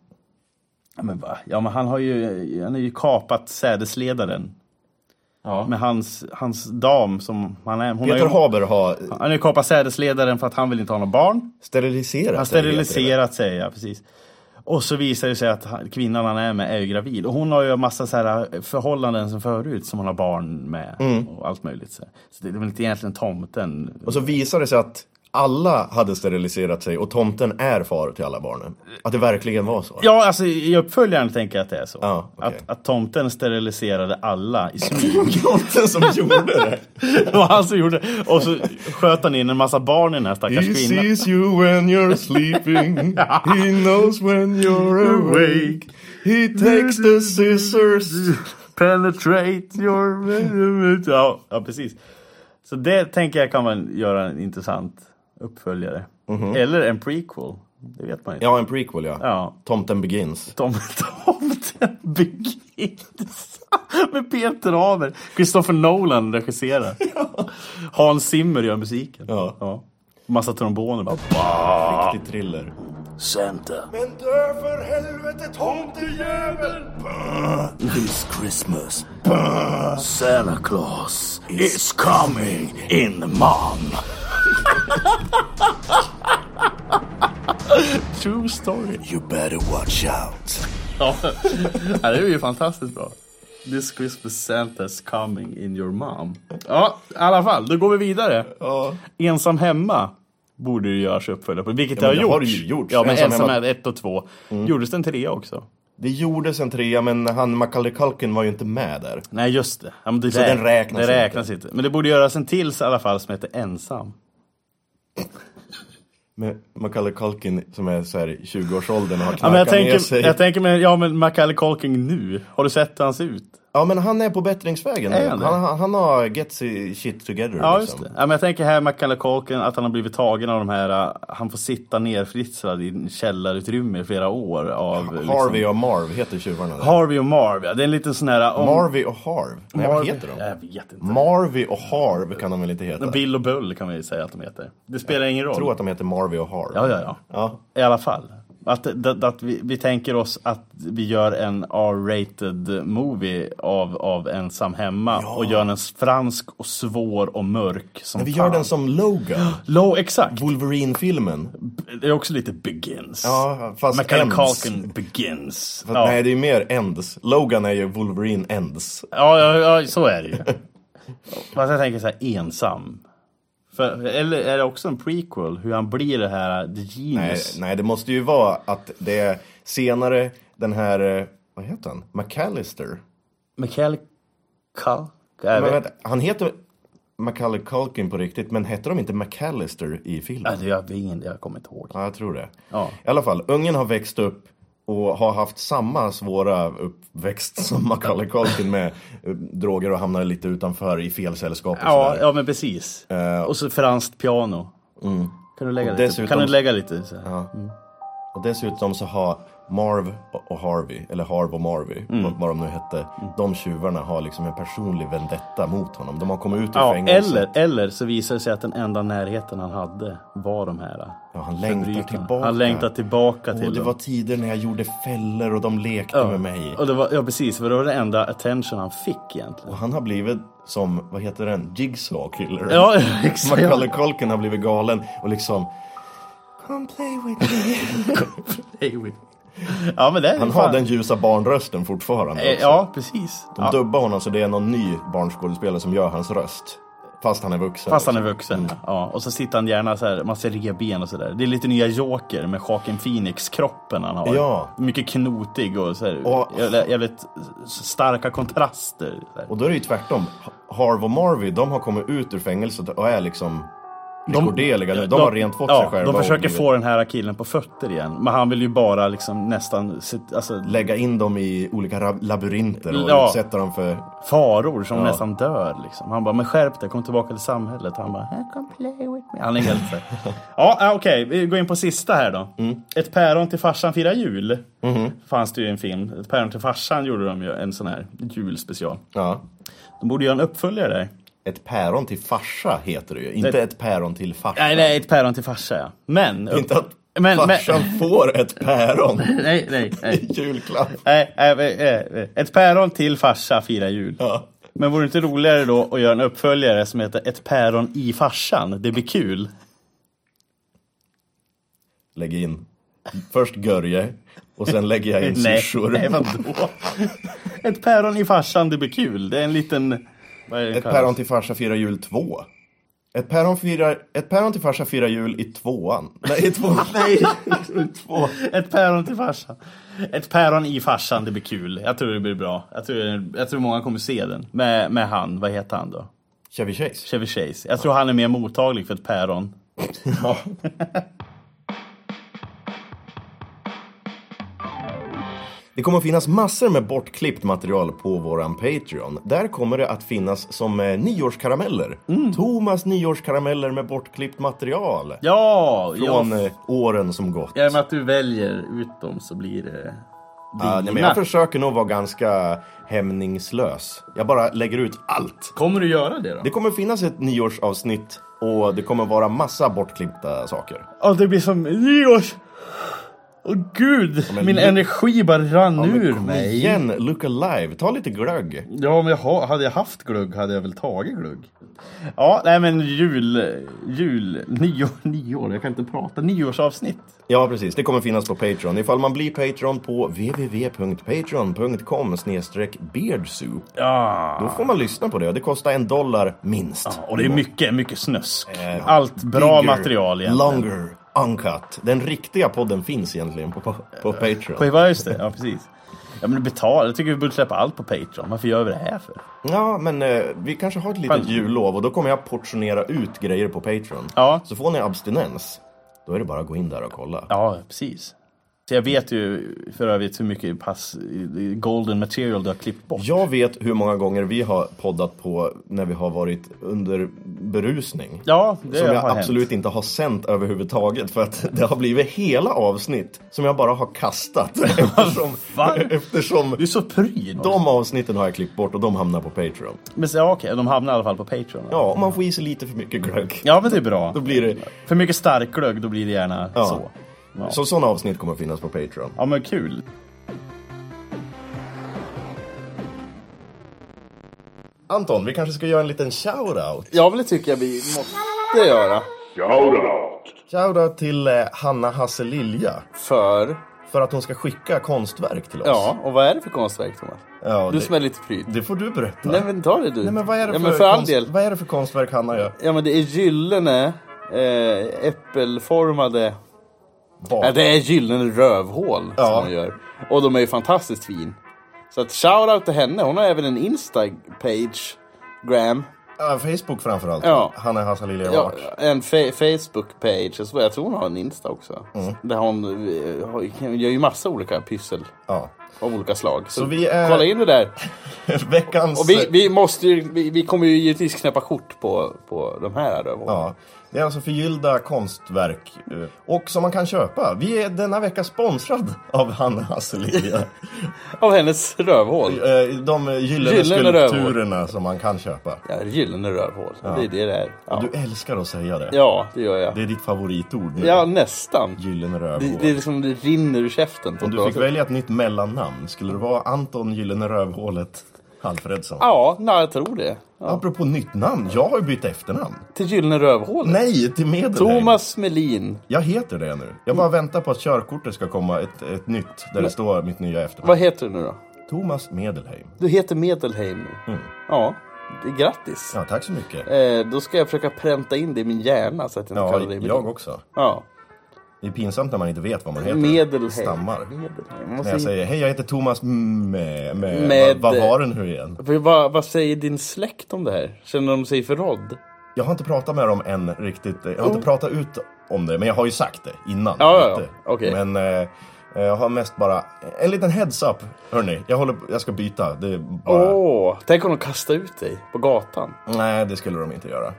Speaker 2: ja, men va? Ja men han har ju, han har ju kapat sädesledaren.
Speaker 1: Ja.
Speaker 2: Med hans, hans dam som han är. Hon har
Speaker 1: Peter
Speaker 2: ju,
Speaker 1: Haber har
Speaker 2: han har ju kapat sädesledaren för att han vill inte ha några barn.
Speaker 1: steriliserat
Speaker 2: Han
Speaker 1: sig, heter det.
Speaker 2: steriliserat sig, ja precis. Och så visar det sig att han- kvinnan han är med är ju gravid. Och hon har ju en massa så här eh, förhållanden som förut som hon har barn med.
Speaker 1: Mm.
Speaker 2: Och allt möjligt. Så, här. så det är väl inte egentligen tomten.
Speaker 1: Och så visar det sig att alla hade steriliserat sig och tomten är far till alla barnen. Att det verkligen var så.
Speaker 2: Ja, alltså i i uppföljaren tänker jag att det är så.
Speaker 1: Ja, okej.
Speaker 2: att, att tomten steriliserade alla i smyg.
Speaker 1: Tomten som gjorde det.
Speaker 2: det var han som gjorde det. Och så sköt han in en massa barn i den här stackars
Speaker 1: He
Speaker 2: kvinnan.
Speaker 1: sees you when you're sleeping. He knows when you're awake. He takes the scissors.
Speaker 2: Penetrate your... Ja, ja, precis. Så det tänker jag kan man göra en intressant uppföljare. Eller en prequel. Det vet man ju.
Speaker 1: Mhm. Ja, en prequel ja.
Speaker 2: Ja.
Speaker 1: Tomten begins.
Speaker 2: Tom, tomten begins med Peter Haber. Christopher Nolan regisserar. Hans Zimmer gör musiken.
Speaker 1: Ja.
Speaker 2: Massa tromboner bara.
Speaker 1: Riktig thriller.
Speaker 2: Santa.
Speaker 1: Men dö för helvete tomtejävel!
Speaker 2: This Christmas. Santa Claus is coming in mom. True story.
Speaker 1: You better watch out.
Speaker 2: Ja. ja, det är ju fantastiskt bra. This Christmas Santa's coming in your mom. Ja, i alla fall, då går vi vidare.
Speaker 1: Ja.
Speaker 2: Ensam hemma borde ju göras uppföljare på, vilket
Speaker 1: Ja,
Speaker 2: det
Speaker 1: men
Speaker 2: har
Speaker 1: det
Speaker 2: gjorts.
Speaker 1: har det ju gjorts.
Speaker 2: Ja, men
Speaker 1: Ensam
Speaker 2: Ensam
Speaker 1: hemma- Mm.
Speaker 2: hemma 1 och 2. Gjordes den trea också?
Speaker 1: Det gjordes en trea, men han Macaulay Culkin var ju inte med där.
Speaker 2: Nej, just det. Ja, men det
Speaker 1: Så den räknas
Speaker 2: det
Speaker 1: inte.
Speaker 2: räknas inte. Men det borde göras en till i alla fall som heter Ensam.
Speaker 1: Med Macaulay Culkin som är så här i 20-årsåldern och har knarkat
Speaker 2: Ja, men jag,
Speaker 1: ner sig.
Speaker 2: tänker, jag tänker med, ja men Macaulay Culkin nu. Har du sett hur han ser ut?
Speaker 1: Ja, men han är på bättringsvägen nu.
Speaker 2: Är han
Speaker 1: Han,
Speaker 2: det?
Speaker 1: han, han har get si- shit together
Speaker 2: Ja, just
Speaker 1: liksom.
Speaker 2: det. Ja, men jag tänker här Macaulay Culkin, att han har blivit tagen av de här, äh, han får sitta nerfritslad i en källarutrymme i flera år av... liksom-
Speaker 1: Harvey och Marv heter tjuvarna. där.
Speaker 2: Harvey och Marv, ja. Det är en liten sån här... Om...
Speaker 1: Marvy och Harv. Nej, vad
Speaker 2: Marv-
Speaker 1: heter de?
Speaker 2: Jag vet inte.
Speaker 1: Marvy och Harv kan de väl inte heta?
Speaker 2: Bill och Bull kan man ju säga att de heter. Det spelar ingen roll.
Speaker 1: Jag tror att de heter Marvy och Harv.
Speaker 2: Ja, ja, ja.
Speaker 1: Ja.
Speaker 2: I alla fall. Att, att, att vi, vi tänker oss att vi gör en R-rated movie av, av Ensam Hemma och gör den fransk och svår och mörk som
Speaker 1: Vi
Speaker 2: fan.
Speaker 1: gör den som Logan.
Speaker 2: Low, exakt!
Speaker 1: Wolverine-filmen.
Speaker 2: Det är också lite begins.
Speaker 1: Ja, fast
Speaker 2: Macaulay
Speaker 1: Ends.
Speaker 2: Culkin begins.
Speaker 1: Fast,
Speaker 2: ja.
Speaker 1: Nej, det är mer Ends. Logan är ju Wolverine Ends.
Speaker 2: Ja, ja, ja, så är det ju. Fast jag tänker så här, ensam. För, eller är det också en prequel? Hur han blir det här The
Speaker 1: Nej,
Speaker 2: Genius?
Speaker 1: Eh, nej, det måste ju vara att det är senare den här, eh, vad heter han? McAllister.
Speaker 2: Michael Kalk? Jag
Speaker 1: Men
Speaker 2: vet-
Speaker 1: vänta, han heter Macaulay Culkin på riktigt, men hette de inte McAllister i filmen?
Speaker 2: Ja, det- Jag vet inte, jag kommer inte ihåg.
Speaker 1: Ja, jag tror det.
Speaker 2: Ja.
Speaker 1: I alla fall, ungen har växt upp och har haft samma svåra uppväxt som Macaulay Culkin med eh, droger och hamnar lite utanför i fel sällskap och
Speaker 2: Ja,
Speaker 1: sådär.
Speaker 2: ja men precis. Eh, Och så franskt piano. Kan du lägga lite?
Speaker 1: Mm. dessutom-
Speaker 2: Kan du lägga lite så här?
Speaker 1: Och dessutom så har Marv och- och Harvey, eller Harv och Marvy,
Speaker 2: Mm.
Speaker 1: vad- vad de nu hette, de tjuvarna har liksom en personlig vendetta mot honom. De har kommit ut ur
Speaker 2: Ja,
Speaker 1: fängelset.
Speaker 2: eller, eller så visar det sig att den enda närheten han hade var de här. eh,
Speaker 1: Ja, han längtar
Speaker 2: förbrytarna.
Speaker 1: tillbaka.
Speaker 2: Han längtar tillbaka
Speaker 1: Och
Speaker 2: till
Speaker 1: det
Speaker 2: dem.
Speaker 1: var tider när jag gjorde fällor och de lekte med mig.
Speaker 2: Och det var, ja precis, för det var det enda attention han fick egentligen.
Speaker 1: Och han har blivit som, vad heter den, Jigsaw Killer.
Speaker 2: Ja, exakt.
Speaker 1: Macaulay Culkin har blivit galen och liksom Come play with me.
Speaker 2: Ja men det är
Speaker 1: Han
Speaker 2: fan-
Speaker 1: har den ljusa barnrösten fortfarande
Speaker 2: Eh,
Speaker 1: också.
Speaker 2: Ja, precis.
Speaker 1: De
Speaker 2: Ja.
Speaker 1: dubbar honom så det är någon ny barnskådespelare som gör hans röst. Fast han är vuxen.
Speaker 2: Fast han är vuxen. Ja, och så sitter han gärna så här, man ser revben och sådär. Det är lite nya Joker med Joaquin Phoenix-kroppen han har.
Speaker 1: Ja.
Speaker 2: Mycket knotig och så här,
Speaker 1: Och-
Speaker 2: jävla- jävligt starka kontraster. Så här.
Speaker 1: Och då är det ju tvärtom. Harv och Marvy, de har kommit ut ur fängelset och är liksom rekorddeliga. De, de har rent fått sig själva.
Speaker 2: De
Speaker 1: och
Speaker 2: försöker
Speaker 1: blivit-
Speaker 2: få den här killen på fötter igen. Men han vill ju bara liksom nästan, sit- alltså
Speaker 1: lägga in dem i olika ra- labyrinter och
Speaker 2: Ja.
Speaker 1: utsätta dem för...
Speaker 2: faror som
Speaker 1: Ja.
Speaker 2: nästan dör liksom. Han bara, men skärp dig, kom tillbaka till samhället. Han bara, "I can play with me. Han är helt så här. Ja, ah, okej, vi går in på sista här då.
Speaker 1: Mm.
Speaker 2: Ett päron till farsan firar jul.
Speaker 1: Mm-hmm.
Speaker 2: Fanns det ju en film. Ett päron till farsan gjorde de ju en sån här julspecial.
Speaker 1: Ja.
Speaker 2: De borde göra en uppföljare där.
Speaker 1: Ett päron till farsa heter det ju, inte
Speaker 2: Det-
Speaker 1: ett päron till farsa.
Speaker 2: Nej, nej, ett päron till farsa ja. Men...
Speaker 1: Inte att
Speaker 2: men, men,
Speaker 1: farsan får ett päron
Speaker 2: nej, nej, nej.
Speaker 1: i julklapp.
Speaker 2: Nej, nej, nej, nej, nej. Ett päron till farsa firar jul.
Speaker 1: Ja.
Speaker 2: Men vore det inte roligare då att göra en uppföljare som heter Ett päron i farsan? Det blir kul.
Speaker 1: Lägg in. Först Görje och sen lägger jag in
Speaker 2: Nej,
Speaker 1: syrsor.
Speaker 2: nej vadå? Ett päron i farsan, det blir kul. Det är en liten... Vad är det
Speaker 1: Ett
Speaker 2: kallas?
Speaker 1: päron till farsa firar jul 2. Ett päron, firar, ett päron till farsa firar jul i tvåan. Nej, i tvåan. Nej, i två.
Speaker 2: Ett päron till farsan. Ett päron i farsan, det blir kul. Jag tror det blir bra. Jag tror, jag tror många kommer se den. Med, med han, vad heter han då?
Speaker 1: Chevy Chase.
Speaker 2: Chevy Chase. Jag tror han är mer mottaglig för ett päron.
Speaker 1: Ja. Det kommer att finnas massor med bortklippt material på våran Patreon. Där kommer det att finnas som eh, nyårskarameller.
Speaker 2: Mm.
Speaker 1: Thomas nyårskarameller med bortklippt material.
Speaker 2: Ja!
Speaker 1: Från
Speaker 2: jag,
Speaker 1: eh, åren som gått.
Speaker 2: jag, med att du väljer ut dem så blir det
Speaker 1: Ja, nej, men
Speaker 2: dina.
Speaker 1: jag försöker nog vara ganska hämningslös. Jag bara lägger ut allt.
Speaker 2: Kommer du göra det då?
Speaker 1: Det kommer finnas ett nyårsavsnitt och det kommer vara massa bortklippta saker.
Speaker 2: Ja, det blir som nyårs... Åh gud,
Speaker 1: men
Speaker 2: min
Speaker 1: nu-
Speaker 2: energi bara rann
Speaker 1: men
Speaker 2: ur
Speaker 1: kom
Speaker 2: mig.
Speaker 1: Igen, look alive. Ta lite glögg.
Speaker 2: Ja, men jag ha, hade jag haft glugg hade jag väl tagit glugg. Ja, nej men jul, jul, nyår, nyår, jag kan inte prata, nyårsavsnitt.
Speaker 1: Ja, precis. Det kommer finnas på Patreon. Ifall man blir Patreon på www.patreon.com beardsoup.
Speaker 2: Ja.
Speaker 1: Då får man lyssna på det. Det kostar en dollar minst.
Speaker 2: Och det är mycket, mycket snösk. Allt bra
Speaker 1: Bigger,
Speaker 2: material egentligen.
Speaker 1: Longer, uncut. Den riktiga podden finns egentligen på, på, på Patreon.
Speaker 2: På- Ja, just det, ja precis. Ja men betala, jag tycker vi borde släppa allt på Patreon. Varför gör vi det här för?
Speaker 1: Ja, men eh, vi kanske har ett litet
Speaker 2: Fan.
Speaker 1: jullov och då kommer jag portionera ut grejer på Patreon.
Speaker 2: Ja.
Speaker 1: Så får ni abstinens, då är det bara att gå in där och kolla.
Speaker 2: Ja, precis. Så jag vet ju för övrigt hur mycket pass golden material du har klippt bort.
Speaker 1: Jag vet hur många gånger vi har poddat på när vi har varit under berusning.
Speaker 2: Ja, det
Speaker 1: som jag
Speaker 2: har
Speaker 1: absolut
Speaker 2: hänt.
Speaker 1: inte har sänt överhuvudtaget för att det har blivit hela avsnitt som jag bara har kastat. Eftersom,
Speaker 2: Fan.
Speaker 1: eftersom
Speaker 2: Du är så pryd.
Speaker 1: de avsnitten har jag klippt bort och de hamnar på Patreon.
Speaker 2: Men så, ja, okej, de hamnar i alla fall på Patreon. Ja,
Speaker 1: Ja, och man får i sig lite för mycket glögg.
Speaker 2: men det är bra.
Speaker 1: Då blir det...
Speaker 2: För mycket starkglögg, då blir det gärna
Speaker 1: Ja.
Speaker 2: så. Ja.
Speaker 1: Så sådana avsnitt kommer att finnas på Patreon.
Speaker 2: ja, men kul.
Speaker 1: Anton, vi kanske ska göra en liten shout-out.
Speaker 2: Jag vill tycka vi måste göra
Speaker 1: Shoutout till eh, Hanna Hasselilja
Speaker 2: för...
Speaker 1: för att hon ska skicka konstverk till oss.
Speaker 2: och vad är det för konstverk, Thomas?
Speaker 1: Ja, det,
Speaker 2: är lite pryd.
Speaker 1: det får du berätta.
Speaker 2: men ta det du.
Speaker 1: Nej, men vad är det, för, konst, vad är det för konstverk Hanna gör?
Speaker 2: Ja men det är gyllene eh, äppelformade...
Speaker 1: Bak.
Speaker 5: Ja, det är gyllene rövhål
Speaker 1: Ja.
Speaker 5: som hon gör. Och de är ju fantastiskt fin. Så att shoutout till henne. Hon har även en Insta-page. Gram.
Speaker 1: Ja, Facebook framförallt.
Speaker 5: Ja.
Speaker 1: Hanna Hasselilja
Speaker 5: Ja,
Speaker 1: Art.
Speaker 5: en fe- Facebook-page. Jag tror- Jag tror hon har en Insta också.
Speaker 1: Mm.
Speaker 5: Där hon eh, har- gör ju massa olika pyssel
Speaker 1: Ja.
Speaker 5: av olika slag. Så,
Speaker 1: Så vi är- Alltså-
Speaker 5: kolla in det där.
Speaker 1: Veckans...
Speaker 5: Och vi, vi, måste ju, vi, vi kommer ju givetvis knäppa kort på, på de här rövhålen.
Speaker 1: Ja. Det är alltså förgyllda konstverk. eh, Och som man kan köpa. Vi är denna vecka sponsrad av Hanna Hasselilja.
Speaker 5: Av hennes rövhål.
Speaker 1: Eh, De eh, gyllene
Speaker 5: Gyllene rövhål.
Speaker 1: skulpturerna som man kan köpa.
Speaker 5: Ja, gyllene rövhål. Det är det det är. Ja.
Speaker 1: Du älskar att säga det.
Speaker 5: ja, det gör jag.
Speaker 1: Det är ditt favoritord nu.
Speaker 5: Ja, nästan.
Speaker 1: Gyllene rövhål.
Speaker 5: Det, det är liksom det rinner ur käften. På
Speaker 1: Om
Speaker 5: ett
Speaker 1: du
Speaker 5: bra
Speaker 1: fick
Speaker 5: sätt.
Speaker 1: välja ett nytt mellannamn, skulle det vara Anton Gyllene Rövhålet Alfredsson?
Speaker 5: Ja, nej, jag tror det. Ja.
Speaker 1: Apropå nytt namn, jag har ju bytt efternamn.
Speaker 5: Till Gyllene Rövhålet.
Speaker 1: Nej, till Medelheim.
Speaker 5: Thomas Melin.
Speaker 1: Jag heter det nu. Jag bara väntar på att körkortet ska komma ett, ett nytt, där det står mitt nya efternamn.
Speaker 5: Vad heter du nu då?
Speaker 1: Thomas Medelheim.
Speaker 5: Du heter Medelheim nu. Ja, grattis!
Speaker 1: Mm. Ja, tack så mycket.
Speaker 5: Eh, då ska jag försöka pränta in det i min hjärna så att jag inte
Speaker 1: Ja,
Speaker 5: kallar det i mitt
Speaker 1: jag också.
Speaker 5: Ja.
Speaker 1: Det är pinsamt när man inte vet vad man heter.
Speaker 5: Medelhäng.
Speaker 1: Stammar.
Speaker 5: Medelhäng.
Speaker 1: När jag
Speaker 5: Måste...
Speaker 1: säger hej jag heter Thomas mm, med, med,
Speaker 5: Med-
Speaker 1: vad, vad har den nu igen?
Speaker 5: Vad, vad, vad säger din släkt om det här? Känner de sig förrådd?
Speaker 1: Jag har inte pratat med dem än riktigt. Jag har inte pratat ut om det, men jag har ju sagt det innan.
Speaker 5: Oh. Ja, ja, ja.
Speaker 1: Lite.
Speaker 5: Okej.
Speaker 1: Men eh, jag har mest bara en liten heads up. Hörni, jag, håller, jag ska byta. Det är
Speaker 5: Åh,
Speaker 1: bara...
Speaker 5: tänk om de kastar ut dig på gatan.
Speaker 1: Nej, det skulle de inte göra.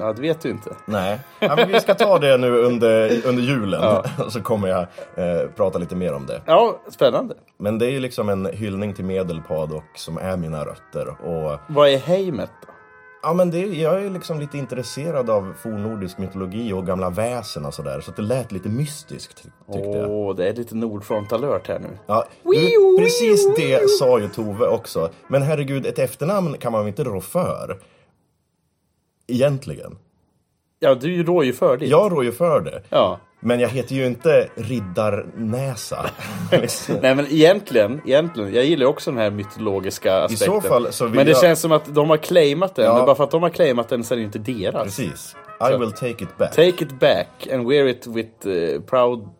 Speaker 5: Ja, det vet du inte.
Speaker 1: Nej, ja, men vi ska ta det nu under, under julen. Och så kommer jag eh, prata lite mer om det.
Speaker 5: Ja, spännande.
Speaker 1: Men det är ju liksom en hyllning till Medelpad och som är mina rötter. Och
Speaker 5: Vad är heimet då?
Speaker 1: Ja, men det, jag är liksom lite intresserad av fornnordisk mytologi och gamla väsen och sådär. Så att det lät lite mystiskt, ty- tyckte
Speaker 5: Åh,
Speaker 1: jag.
Speaker 5: det är lite Nordfront-alert här nu.
Speaker 1: Ja, du, precis det sa ju Tove också. Men herregud, ett efternamn kan man väl inte rå för? Egentligen.
Speaker 5: Ja, du rår ju för ditt.
Speaker 1: Jag rår ju för det.
Speaker 5: Ja.
Speaker 1: Men jag heter ju inte Riddarnäsa. Liksom.
Speaker 5: Nej men egentligen, egentligen, jag gillar ju också den här mytologiska aspekten.
Speaker 1: så fall så vill
Speaker 5: men det
Speaker 1: jag-
Speaker 5: känns som att de har claimat den,
Speaker 1: Ja.
Speaker 5: men bara för att de har claimat den så är det ju inte deras.
Speaker 1: Precis. I will take it back.
Speaker 5: Take it back and wear it with eh,
Speaker 1: Ja,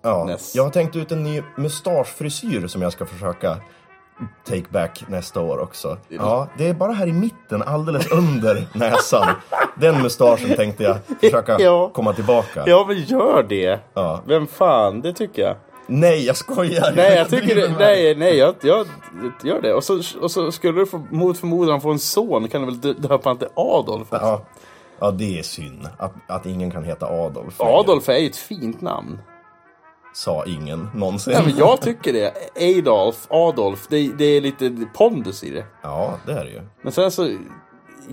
Speaker 5: proudness.
Speaker 1: jag har tänkt ut en ny mustaschfrisyr som jag ska försöka take back nästa år också. Ja, det är bara här i mitten, alldeles under näsan. Den mustaschen tänkte jag försöka
Speaker 5: Ja.
Speaker 1: komma tillbaka.
Speaker 5: Ja, men gör det!
Speaker 1: Ja.
Speaker 5: Vem fan, det tycker jag.
Speaker 1: Nej, jag skojar!
Speaker 5: Nej, jag tycker det,
Speaker 1: driver med dig.
Speaker 5: nej, nej, jag, jag gör det. Och så, och så skulle du få, mot förmodan få en son kan du väl dö- döpa han till Adolf? också?
Speaker 1: Ja. ja, det är synd att, att ingen kan heta Adolf.
Speaker 5: Adolf är ju ett fint namn.
Speaker 1: Sa ingen någonsin.
Speaker 5: Nej, men jag tycker det. Adolf, Adolf, det, det är lite pondus i det.
Speaker 1: Ja, det är det ju.
Speaker 5: Men sen så i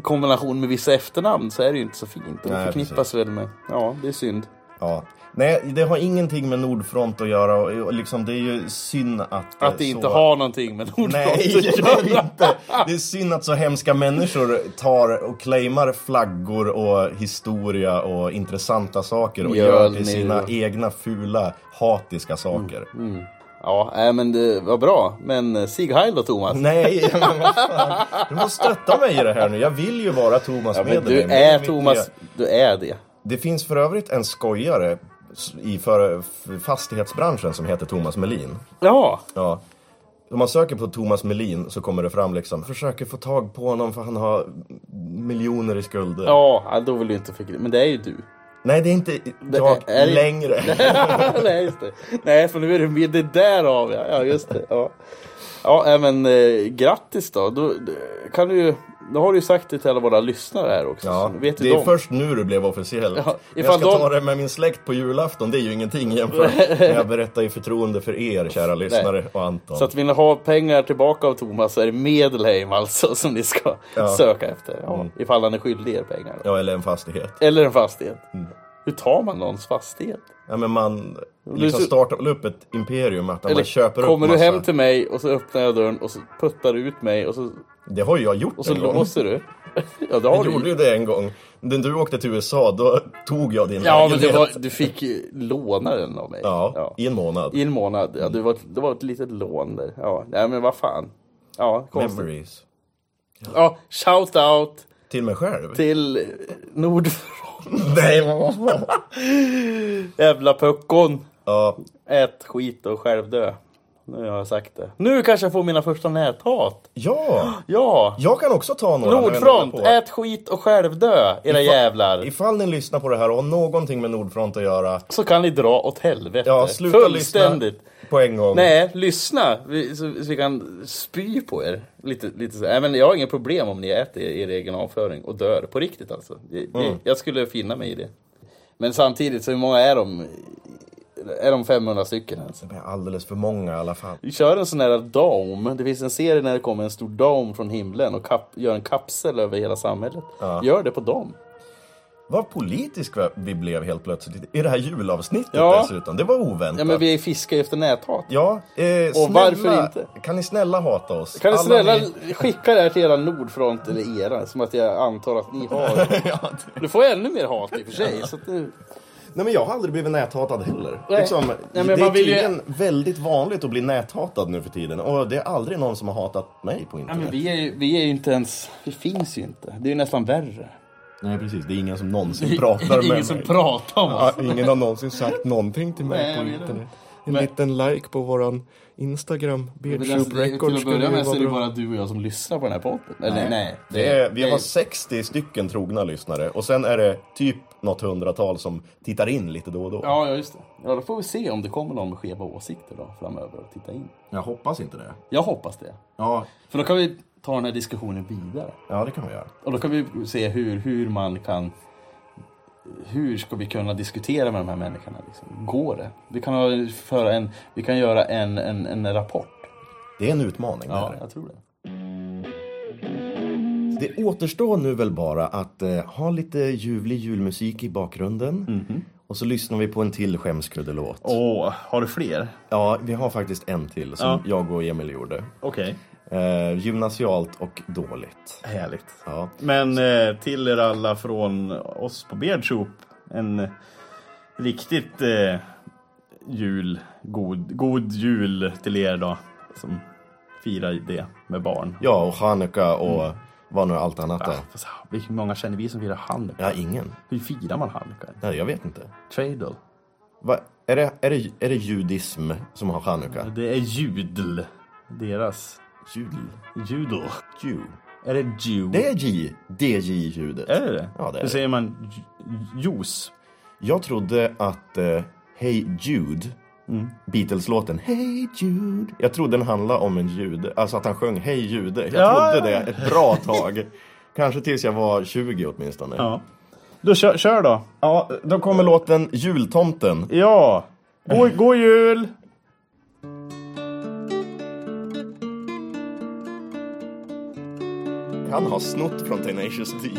Speaker 5: kombination med vissa efternamn så är det ju inte så fint. Och det
Speaker 1: Nej,
Speaker 5: förknippas
Speaker 1: precis.
Speaker 5: väl med, ja det är synd.
Speaker 1: Ja. Nej, det har ingenting med Nordfront att göra och och liksom, det är ju synd att...
Speaker 5: Att det
Speaker 1: eh,
Speaker 5: inte
Speaker 1: så-
Speaker 5: har någonting med Nordfront
Speaker 1: Nej,
Speaker 5: att
Speaker 1: det är det
Speaker 5: göra.
Speaker 1: inte. Det är synd att så hemska människor tar och claimar flaggor och historia och intressanta saker och gör till
Speaker 5: Mjölnir.
Speaker 1: sina egna fula, hatiska saker.
Speaker 5: Ja, nej, men det var bra. Men eh, Sieg Heil då Thomas?
Speaker 1: Nej, men vad fan. Du måste stötta mig i det här nu. Jag vill ju vara Thomas
Speaker 5: Ja, men
Speaker 1: Medelheim,
Speaker 5: du
Speaker 1: det
Speaker 5: är
Speaker 1: mitt
Speaker 5: Thomas,
Speaker 1: nya-
Speaker 5: du är det.
Speaker 1: Det finns för övrigt en skojare i för f- fastighetsbranschen som heter Thomas Melin.
Speaker 5: Ja,
Speaker 1: Ja. Om man söker på Thomas Melin så kommer det fram liksom, försöker få tag på honom för han har miljoner i skulder.
Speaker 5: ja då vill du inte förknippa, men det är ju du.
Speaker 1: Nej, det är inte jag
Speaker 5: är- är det-
Speaker 1: längre.
Speaker 5: nej, just det. Nej, för nu är det med det där av ja. Ja, just det. Ja, ja nej, men eh, grattis då. Då, kan du, ju- då har du ju sagt det till alla våra lyssnare här också.
Speaker 1: Ja,
Speaker 5: så vet ju
Speaker 1: det är
Speaker 5: de.
Speaker 1: först nu det blev officiellt.
Speaker 5: Ja,
Speaker 1: jag
Speaker 5: ifall
Speaker 1: ska
Speaker 5: de-
Speaker 1: ta det med min släkt på julafton, det är ju ingenting jämfört med jag berättar i förtroende för er, kära lyssnare och Anton.
Speaker 5: Så att vill ni ha pengar tillbaka av Thomas så är det Medelheim alltså som ni ska
Speaker 1: Ja.
Speaker 5: söka efter. Ja,
Speaker 1: Mm.
Speaker 5: Ifall han är skyldig er pengar.
Speaker 1: Ja, eller en fastighet.
Speaker 5: Eller en fastighet. Hur tar man någons fastighet?
Speaker 1: Ja, men man liksom
Speaker 5: så-
Speaker 1: startar väl upp ett imperium, att man
Speaker 5: Eller
Speaker 1: köper upp
Speaker 5: kommer
Speaker 1: massa...
Speaker 5: du hem till mig och så öppnar jag dörren och så puttar du ut mig och så,
Speaker 1: Det har ju jag gjort
Speaker 5: och så
Speaker 1: en gång.
Speaker 5: låser du? ja, det har
Speaker 1: Jag
Speaker 5: du
Speaker 1: gjorde
Speaker 5: ju.
Speaker 1: ju det en gång. När du åkte till USA, då tog jag din
Speaker 5: Ja, men
Speaker 1: lägenhet.
Speaker 5: det var, du fick ju låna den av mig.
Speaker 1: Ja,
Speaker 5: Ja.
Speaker 1: i en månad.
Speaker 5: I en månad. Ja, det, var, det var ett litet lån där. Ja, nej, men vad fan. Ja, konstigt.
Speaker 1: Memories.
Speaker 5: Ja, shout out
Speaker 1: Till mig själv?
Speaker 5: till eh, Nordfront.
Speaker 1: Nej, men vad fan.
Speaker 5: Jävla puckon.
Speaker 1: Ja,
Speaker 5: Ät skit och själv dö. Nu har jag sagt det. Nu kanske jag får mina första näthat.
Speaker 1: ja.
Speaker 5: Ja!
Speaker 1: Jag kan också ta några. när vi ändå
Speaker 5: Nordfront,
Speaker 1: håller på.
Speaker 5: ät skit och själv dö, era jävlar.
Speaker 1: Ifall ni lyssnar på det här och har någonting med Nordfront att göra,
Speaker 5: Så kan ni dra åt helvete.
Speaker 1: ja, sluta lyssna
Speaker 5: Fullständigt.
Speaker 1: på en gång.
Speaker 5: Nej, lyssna. Vi, så, så vi kan spy på er. Lite, lite så. Nej, men jag har inga problem om ni äter er, er egen avföring och dör. På riktigt alltså. Det, det,
Speaker 1: Mm.
Speaker 5: Jag skulle finna mig i det. Men samtidigt, så hur många är de? Är de 500 stycken alltså? ens?
Speaker 1: Det är alldeles för många i alla fall.
Speaker 5: Vi kör en sån här dome. Det finns en serie när det kommer en stor dome från himlen och kap- gör en kapsel över hela samhället. Gör det på dem.
Speaker 1: Vad politisk vi blev helt plötsligt i det här julavsnittet
Speaker 5: Ja.
Speaker 1: dessutom. Det var oväntat.
Speaker 5: Ja, men vi fiskar ju efter näthat.
Speaker 1: Ja, eh, snälla,
Speaker 5: varför inte?
Speaker 1: Kan ni snälla hata oss?
Speaker 5: Kan ni
Speaker 1: Alla
Speaker 5: snälla
Speaker 1: ni-
Speaker 5: skicka det här till era Nordfront, eller era, som att jag antar att ni har.
Speaker 1: ja, det...
Speaker 5: Nu får jag ännu mer hat i och för sig. Så att nu...
Speaker 1: Nej men jag har aldrig blivit näthatad heller.
Speaker 5: Nej.
Speaker 1: Liksom,
Speaker 5: Nej, men
Speaker 1: det är
Speaker 5: man vill ju-
Speaker 1: tydligen väldigt vanligt att bli näthatad nu för tiden och det är aldrig någon som har hatat mig på
Speaker 5: Ja,
Speaker 1: internet.
Speaker 5: men vi, är ju, vi är ju inte ens... Vi finns ju inte. Det är ju nästan värre.
Speaker 1: Nej precis, det är ingen som någonsin pratar med mig.
Speaker 5: pratar om
Speaker 1: Ja, ingen har någonsin sagt någonting till mig
Speaker 5: Nej, jag
Speaker 1: på
Speaker 5: vet
Speaker 1: internet.
Speaker 5: inte.
Speaker 1: En
Speaker 5: Men-
Speaker 1: liten like på våran Instagram,
Speaker 5: Men alltså,
Speaker 1: Beardsoup
Speaker 5: det, till
Speaker 1: Records
Speaker 5: att börja med så är det
Speaker 1: bra.
Speaker 5: bara du och jag som lyssnar på den här podden. Eller nej. det-
Speaker 1: Det är,
Speaker 5: det
Speaker 1: Eh, vi
Speaker 5: är-
Speaker 1: har 60 stycken trogna lyssnare och sen är det typ något hundratal som tittar in lite då och då.
Speaker 5: Ja, ja, just det. Ja, då får vi se om det kommer någon med skeva åsikter då framöver och titta in.
Speaker 1: Jag hoppas inte det.
Speaker 5: Jag hoppas det.
Speaker 1: Ja,
Speaker 5: För då kan vi ta den här diskussionen vidare.
Speaker 1: ja det kan vi göra.
Speaker 5: Och då kan vi se hur, hur man kan... Hur ska vi kunna diskutera med de här människorna? Liksom? Går det? Vi kan, ha, föra en, vi kan göra en, en, en rapport.
Speaker 1: Det är en utmaning det
Speaker 5: Ja,
Speaker 1: här.
Speaker 5: jag tror det.
Speaker 1: Det återstår nu väl bara att eh, ha lite ljuvlig julmusik i bakgrunden. Och så lyssnar vi på en till skämskuddelåt.
Speaker 2: Mhm. Åh, har du fler?
Speaker 1: Ja, vi har faktiskt en till som
Speaker 2: Ja.
Speaker 1: jag och Emil gjorde.
Speaker 2: Okej,
Speaker 1: Eh, gymnasialt och dåligt.
Speaker 2: härligt.
Speaker 1: Ja.
Speaker 2: Men eh, till er alla från oss på Beardshop, en riktigt eh, jul, god, god jul till er då. Som firar det med barn.
Speaker 1: ja, och Chanukka och
Speaker 2: Mm.
Speaker 1: vad nu allt annat är.
Speaker 2: Fast, ah, Hur många känner vi som firar Hanukkah?
Speaker 1: Ja, ingen.
Speaker 2: Hur firar man Hanukkah?
Speaker 1: Nej, jag vet inte.
Speaker 2: Tradel?
Speaker 1: Va? Är, det, är, det, är det judism som har Chanukka?
Speaker 2: Det är judel. Deras
Speaker 1: Jul?
Speaker 2: judel.
Speaker 1: Jew.
Speaker 2: Är det jew?
Speaker 1: Det är J. DJ-ljudet.
Speaker 2: Är det det?
Speaker 1: Ja, det är
Speaker 2: Hur
Speaker 1: det.
Speaker 2: säger man ju- juice?
Speaker 1: Jag trodde att eh, Hey Jude, Mm. Beatles-låten Hey Jude, jag trodde den handlade om en jude, alltså att han sjöng Hey jude. Jag
Speaker 2: Ja,
Speaker 1: trodde
Speaker 2: ja.
Speaker 1: det ett bra tag. Kanske tills jag var 20 åtminstone.
Speaker 2: Ja. Då kör, kör då. eh,
Speaker 1: Ja, då kommer låten Jultomten.
Speaker 2: Ja. God, god jul!
Speaker 1: Han har snott från Tenacious D.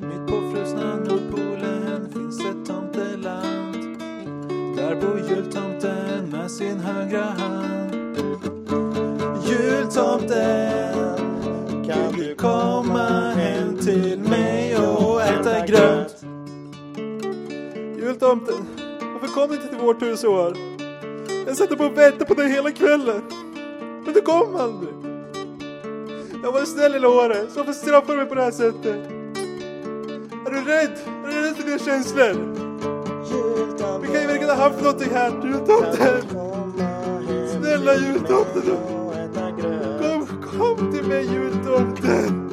Speaker 4: Mitt på frusna Nordpolen finns ett tomteland. Där bor jultomten med sin högra hand. Jultomten, kan du komma hem till mig och äta gröt? Jultomten, varför kom du inte till vårt hus i år? Jag satt på och väntade på dig hela kvällen. Men du kom aldrig. Jag var snäll hela året, så varför straffar du mig på det här sättet? Är du rädd? Är du rädd för dina känslor? Vi kan ju verkligen ha haft någonting här, jultomten! Snälla jultomten! Kom, kom till mig jultomten!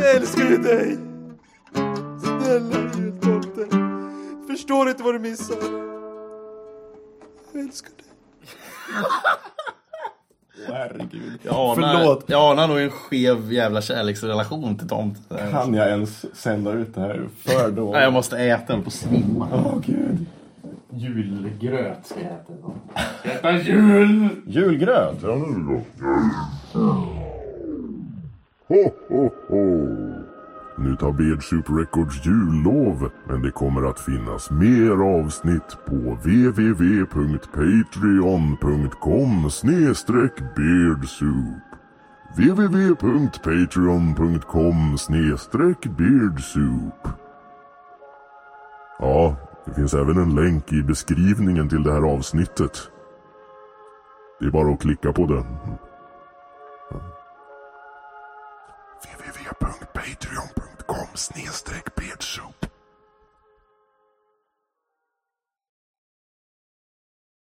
Speaker 4: Jag älskar ju dig! Snälla jultomten! Förstår inte vad du missar? Jag älskar dig.
Speaker 1: Herregud.
Speaker 2: Jag anar,
Speaker 1: Förlåt.
Speaker 2: Jag anar nog en skev jävla kärleksrelation till tomten.
Speaker 1: Kan jag ens sända ut det här? För då.
Speaker 2: Nej, jag måste äta den på svimma.
Speaker 1: Åh, gud.
Speaker 2: Julgröt ska jag äta idag. Ska jag äta jul!
Speaker 1: Julgröt?
Speaker 6: Ho, ho, ho! Nu tar Beardsoup Records jullov, men det kommer att finnas mer avsnitt på www.patreon.com snedstreck beardsoup. www.patreon.com snedstreck beardsoup. Ja, det finns även en länk i beskrivningen till det här avsnittet. Det är bara att klicka på den. www.patreon.com snedstreck